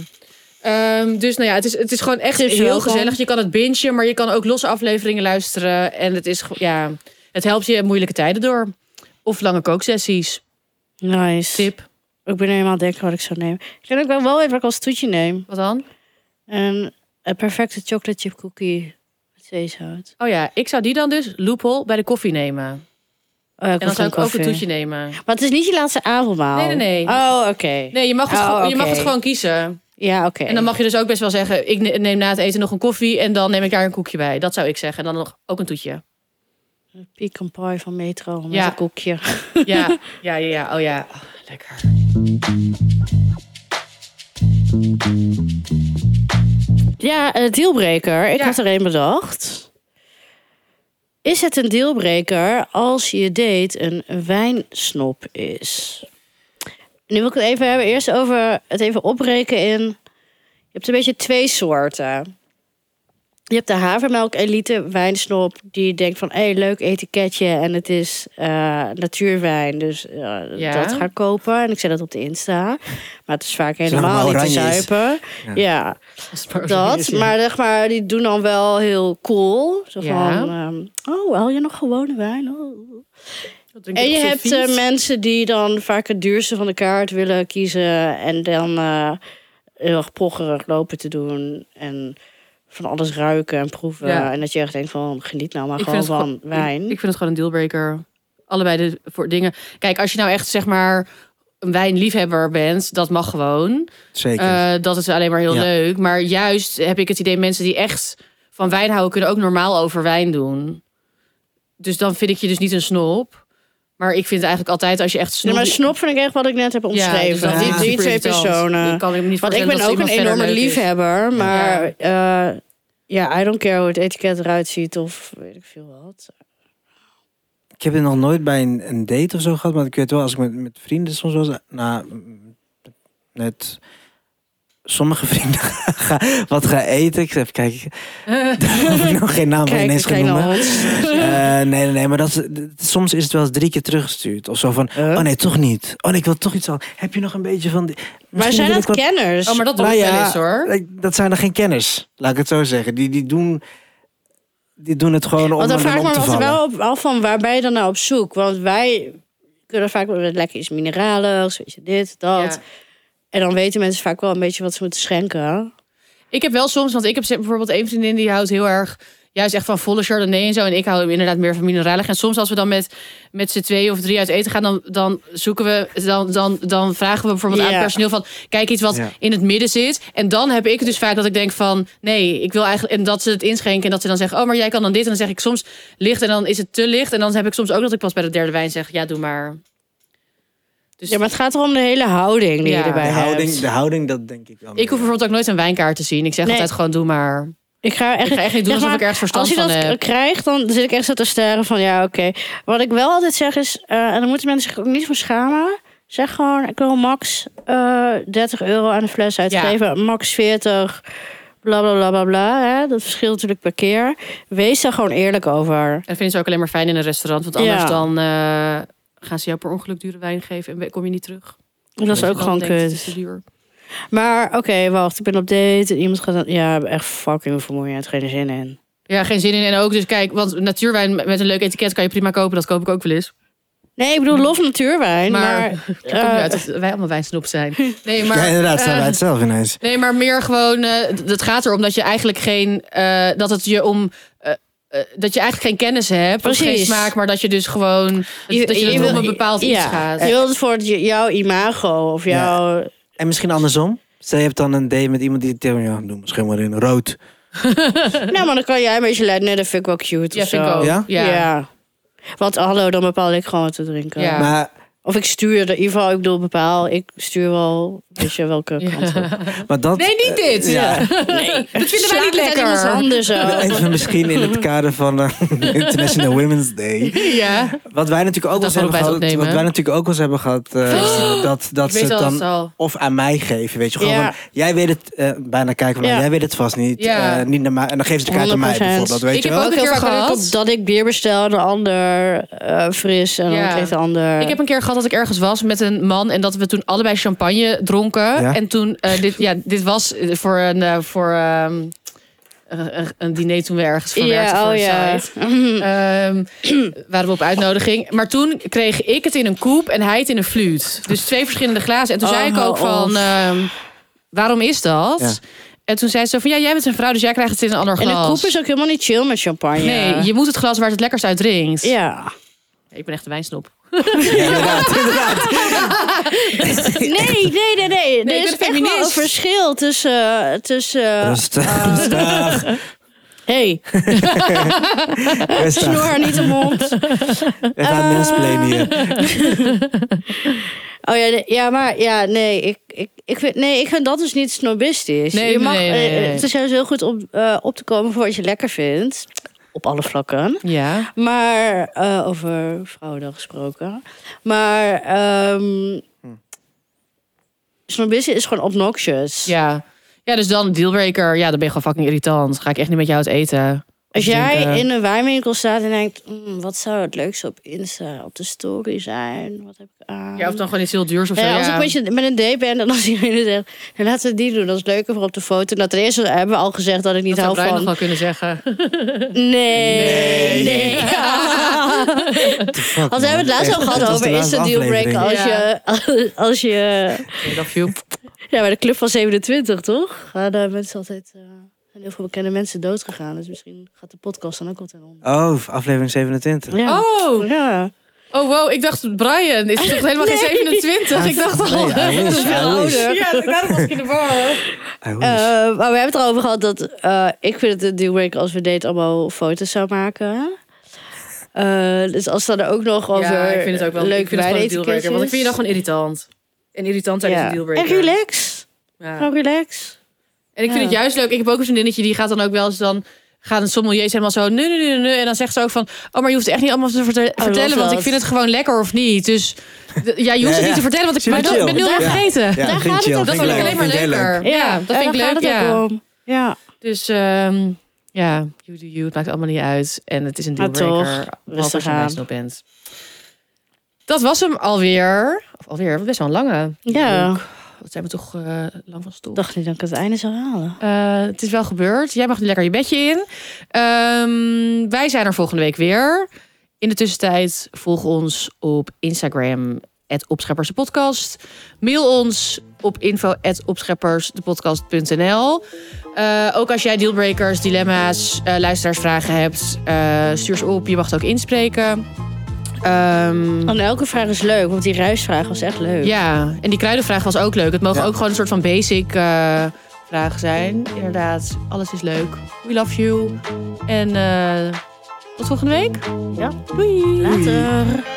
Ehm, dus nou ja, het is, het is gewoon echt Tips heel welkom. gezellig. Je kan het bingen, maar je kan ook losse afleveringen luisteren. En het is, gewoon- ja, het helpt je moeilijke tijden door. Of lange kooksessies. Nice. Tip. Ik ben helemaal aan het denken wat ik zou nemen. Ik denk ook wel wel even wat ik als toetje neem. Wat dan? Een, een perfecte chocolate chip cookie. Met zeezout. Oh ja, ik zou die dan dus loophole bij de koffie nemen. Oh, ja, ik En dan zou ik ook een toetje toetje. nemen. Maar het is niet je laatste avondmaal. Nee, nee, nee. Oh, oké. Nee, je mag het, Oh, gewoon- je mag oké. het gewoon kiezen. Ja, oké. En dan mag je dus ook best wel zeggen: ik ne- neem na het eten nog een koffie en dan neem ik daar een koekje bij. Dat zou ik zeggen. En dan nog ook een toetje. Pecan pie van Metro met Ja. een koekje. Ja, ja, ja, ja. Oh ja, Oh, lekker. Ja, een dealbreaker. Ik Ja. had er één bedacht. Is het een dealbreaker als je date een wijnsnop is? Nu wil ik het even hebben. Eerst over het even opbreken in... Je hebt een beetje twee soorten. Je hebt de havermelk elite wijnsnop die denkt van... hé, hey, leuk etiketje en het is eh, natuurwijn. Dus eh, Ja. dat ga ik kopen. En ik zet dat op de Insta. Maar het is vaak het maar helemaal niet te oranje is. zuipen. Ja. ja. Als het maar zo Dat, is, ja. maar zeg maar, die doen dan wel heel cool. Zo Ja. van, ehm, oh, haal je nog gewone wijn? Oh. Dat denk ik En je ook zo hebt vies. eh, mensen die dan vaak het duurste van de kaart willen kiezen. En dan eh, heel erg pocherig lopen te doen. En van alles ruiken en proeven. Ja. En dat je echt denkt van, geniet nou maar Ik gewoon vind het van gewoon- wijn. Ik vind het gewoon een dealbreaker. Allebei de voor dingen. Kijk, als je nou echt zeg maar een wijnliefhebber bent, dat mag gewoon. Zeker. Eh, dat is alleen maar heel Ja. leuk. Maar juist heb ik het idee, mensen die echt van wijn houden, kunnen ook normaal over wijn doen. Dus dan vind ik je dus niet een snob. Maar ik vind eigenlijk altijd als je echt snob... dus Nee, maar snop vind ik echt wat ik net heb omschreven. dat is die, die super twee irritant. Ik personen. kan me niet Want ik voorstellen ben dat ook een iemand verder enorme leuk is. liefhebber, maar eh, ja, I don't care hoe het etiket eruit ziet of weet ik veel wat. Ik heb het nog nooit bij een, een date of zo gehad, maar ik weet wel, als ik met, met vrienden soms was, nou, mm, met sommige vrienden ga, wat ga eten. Ik zeg, even kijken, of ik nog geen naam Kijk, ineens ik ga ken noemen. al. Eh, nee, nee, nee, maar dat is, d- soms is het wel eens drie keer teruggestuurd. Of zo van, Huh? oh nee, toch niet. Oh nee, ik wil toch iets aan. Heb je nog een beetje van... die- Maar Misschien zijn wil ik dat wat- kenners? Oh, maar dat doe Nou ik wel ja, eens hoor. Ik- Dat zijn er geen kenners, laat ik het zo zeggen. Die, die, doen, die doen het gewoon om, Want dan om, vraag ik om me te altijd vallen. wel op, af van waar ben je dan nou op zoek? Want wij kunnen vaak wel met lekker iets mineraligs, weet je, dit, dat. Ja. En dan weten mensen vaak wel een beetje wat ze moeten schenken. Ik heb wel soms, want ik heb ze- bijvoorbeeld één vriendin die houdt heel erg... juist echt van volle chardonnay en zo. En ik hou inderdaad meer van mineralig. En soms als we dan met, met z'n twee of drie uit eten gaan... dan, dan zoeken we, dan, dan, dan vragen we bijvoorbeeld aan Ja. het personeel van... kijk iets wat Ja. in het midden zit. En dan heb ik dus vaak dat ik denk van... nee, ik wil eigenlijk... en dat ze het inschenken en dat ze dan zeggen... oh, maar jij kan dan dit. En dan zeg ik soms licht en dan is het te licht. En dan heb ik soms ook dat ik pas bij de derde wijn zeg... ja, doe maar. Dus Ja, maar het gaat erom de hele houding die Ja. je erbij De houding, hebt. de houding, dat denk ik wel. ik hoef meer. bijvoorbeeld ook nooit een wijnkaart te zien. Ik zeg Nee. altijd gewoon doe maar. Ik ga echt, Ik ga echt niet doen zeg alsof maar, ik ergens verstand Als je van dat eh, heb. k- krijgt, dan zit ik echt zo te staren van ja, oké. Wat ik wel altijd zeg is, eh, en dan moeten mensen zich ook niet voor schamen. Zeg gewoon, ik wil max eh, 30 euro aan de fles uitgeven. Max 40, bla bla bla bla bla. Hè? Dat verschilt natuurlijk per keer. Wees daar gewoon eerlijk over. En dat vinden ze ook alleen maar fijn in een restaurant. Want anders Ja. dan eh, gaan ze jou per ongeluk dure wijn geven en ben- kom je niet terug. Dat is Omdat ook je dan gewoon denkt, het is kut. te duur. Maar oké, wacht, ik ben op date. En iemand gaat dan, ja, echt fucking vermoeiend, geen zin in. Ja, geen zin in. En ook dus kijk, want natuurwijn met een leuk etiket kan je prima kopen. Dat koop ik ook wel eens. Nee, ik bedoel, lof natuurwijn. Maar, Maar- Ik kom nu eh, uit dat wij allemaal wijnsnoep zijn. Nee, maar... ja, inderdaad, staan eh, wij het zelf ineens. Nee, maar meer gewoon. eh, d- het gaat erom dat je eigenlijk geen. eh, dat het je om. eh, eh, dat je eigenlijk geen kennis hebt. Of geen Precies. smaak, maar dat je dus gewoon. Dat je, dat je om wil- een bepaald iets ja, gaat. Je wilt voor het- jouw imago of jouw... En misschien andersom. Stel je hebt dan een date met iemand die tegen ja, noem misschien maar in rood. Nou, maar dan kan jij een beetje leiden. Nee, dat vind ik wel cute Ja, of zo. vind ik ook. Ja? Ja. Ja. Want hallo, dan bepaal ik gewoon wat te drinken. Ja. Maar, Of ik stuur, in ieder geval, ik bedoel bepaal, ik stuur wel, weet je welke kant op. maar dat... Nee, niet dit. Ja. Nee, dat vinden wij niet lekker. handen zo. Wel Even misschien in het kader van eh, International Women's Day. ja. Wat wij natuurlijk ook wel Dat eens hebben gaan gehad. we bij het opnemen. Wat wij natuurlijk ook wel eens hebben gehad. eh, dat dat Ik ze weet het al, dan dat al. of aan mij geven. Weet je gewoon. Ja. van, jij weet het eh, bijna kijken. Maar Ja. jij weet het vast niet. Ja. eh, niet naar mij. En dan geven ze de kaart aan mij 100%. bijvoorbeeld. Weet Ik je heb wel? ook ook een heel keer vaak hoor ik gehad. op dat ik bier bestel en de ander eh, fris en Ja. dan kreeg de Eh, ander. Ik heb een keer gehad dat ik ergens was met een man en dat we toen allebei champagne dronken. Ja. En toen, eh, dit, ja, dit was eh, voor een, eh, voor, ehm, een- een- een diner toen we ergens voor werkten. ja, voor oh een ja. site. Ehm, waren we op uitnodiging. Maar toen kreeg ik het in een koep en hij het in een fluut. Dus twee verschillende glazen. En toen Oh, zei ik hou ook van, op. ehm, waarom is dat? Ja. En toen zei ze zo van, ja, jij bent een vrouw, dus jij krijgt het in een ander En glas. de koep is ook helemaal niet chill met champagne. Nee, je moet het glas waar het het lekkerst uit drinkt. Ja. Ik ben echt een wijnsnop. Ja, inderdaad, inderdaad. Nee, nee, nee, nee. ben er is echt feminist. wel een verschil tussen... eh, tussen eh, Rustig, rustig, hey, rustig. Ah. snor haar niet de mond. We Eh. gaan mensplayen hier. Oh ja, nee, ja maar ja, nee, ik, ik, ik, vind, nee, ik vind dat dus niet snobistisch. Nee, je nee, mag, nee, nee, eh, nee. Het is juist heel goed om eh, op te komen voor wat je lekker vindt. Op alle vlakken. Ja. Maar eh, over vrouwendag gesproken. Maar ehm snobisme is gewoon obnoxious. Ja. Ja, dus dan dealbreaker. Ja, dan ben je gewoon fucking irritant. Ga ik echt niet met jou uit eten. Dus Als Drinken. jij in een wijnwinkel staat en denkt, "Mm, wat zou het leukste op Insta, op de story zijn? Wat heb ik aan? Ja, of dan gewoon iets heel duurs of zo. Ja, Ja, als ik met, je, met een date ben en als iedereen zegt, "Ja, laten we die doen, dat is leuker voor op de foto. Nou, ten eerste hebben we al gezegd dat ik niet dat zou hou Brian nog van. wel kunnen zeggen. Nee, nee. Want we hebben het laatst al gehad over is dat dealbreaker als je, als je I love you. Ja, bij de club van 27, toch? Gaan daar mensen altijd... eh, zijn heel veel bekende mensen dood gegaan. Dus misschien gaat de podcast dan ook altijd om. Oh, aflevering 27. Ja. Oh, Ja. oh wow. Ik dacht, Brian dit is toch helemaal geen 27? Ik dacht al. Nee, I wish, I wish, Ja, daarom was ik in de war. I wish. Eh, maar we hebben het erover gehad dat... eh, ik vind het een dealbreaker als we date allemaal foto's zou maken. Eh, dus als dan er ook nog over Ja, ik vind het ook wel leuk. Ik leuke vind het gewoon een wijnetiketjes dealbreaker. Want ik vind je dan is. gewoon irritant. En irritant zijn is een ja. En dealbreaker. relax. Ja. Gewoon relax. En ik vind Ja. het juist leuk. Ik heb ook een vriendinnetje die gaat dan ook wel eens dan gaan een sommeliers helemaal zo nu nu nu nu en dan zegt ze ook van oh maar je hoeft echt niet allemaal te verte- vertellen want dat. ik vind het gewoon lekker of niet. Dus d- ja, je hoeft het ja. niet te vertellen want ik Super maar dat chill. ben nu al Ja. vergeten. ja, vind daar gaat ik het chill, Dat vind vind ik leuk, alleen maar vind jij leuk. leuker. Ja, dat daar vind ik gaat leuk. het ook Ja. om. Ja. Dus ehm, ja, you do you. Het maakt allemaal niet uit en het is een Maar toch, dealbreaker. behalve Als rustig je een aan. wijsnop bent. Dat was hem alweer. Of alweer, best wel een lange. Ja. Leuk. Wat zijn we toch eh, lang van stoel. Ik dacht niet dat ik het einde zou halen. Eh, het is wel gebeurd. Jij mag nu lekker je bedje in. Ehm, wij zijn er volgende week weer. In de tussentijd volg ons op Instagram, @opscheppersdepodcast. Mail ons op info.opscheppersdepodcast.nl. Eh, ook als jij dealbreakers, dilemma's, eh, luisteraarsvragen hebt, eh, stuur ze op. Je mag het ook inspreken. Ehm, En Oh, nou, elke vraag is leuk, want die ruisvraag was echt leuk. ja, en die kruidenvraag was ook leuk. Het mogen Ja. ook gewoon een soort van basic eh, vragen zijn. Inderdaad, alles is leuk. We love you. En eh, tot volgende week. Ja. Doei. Later.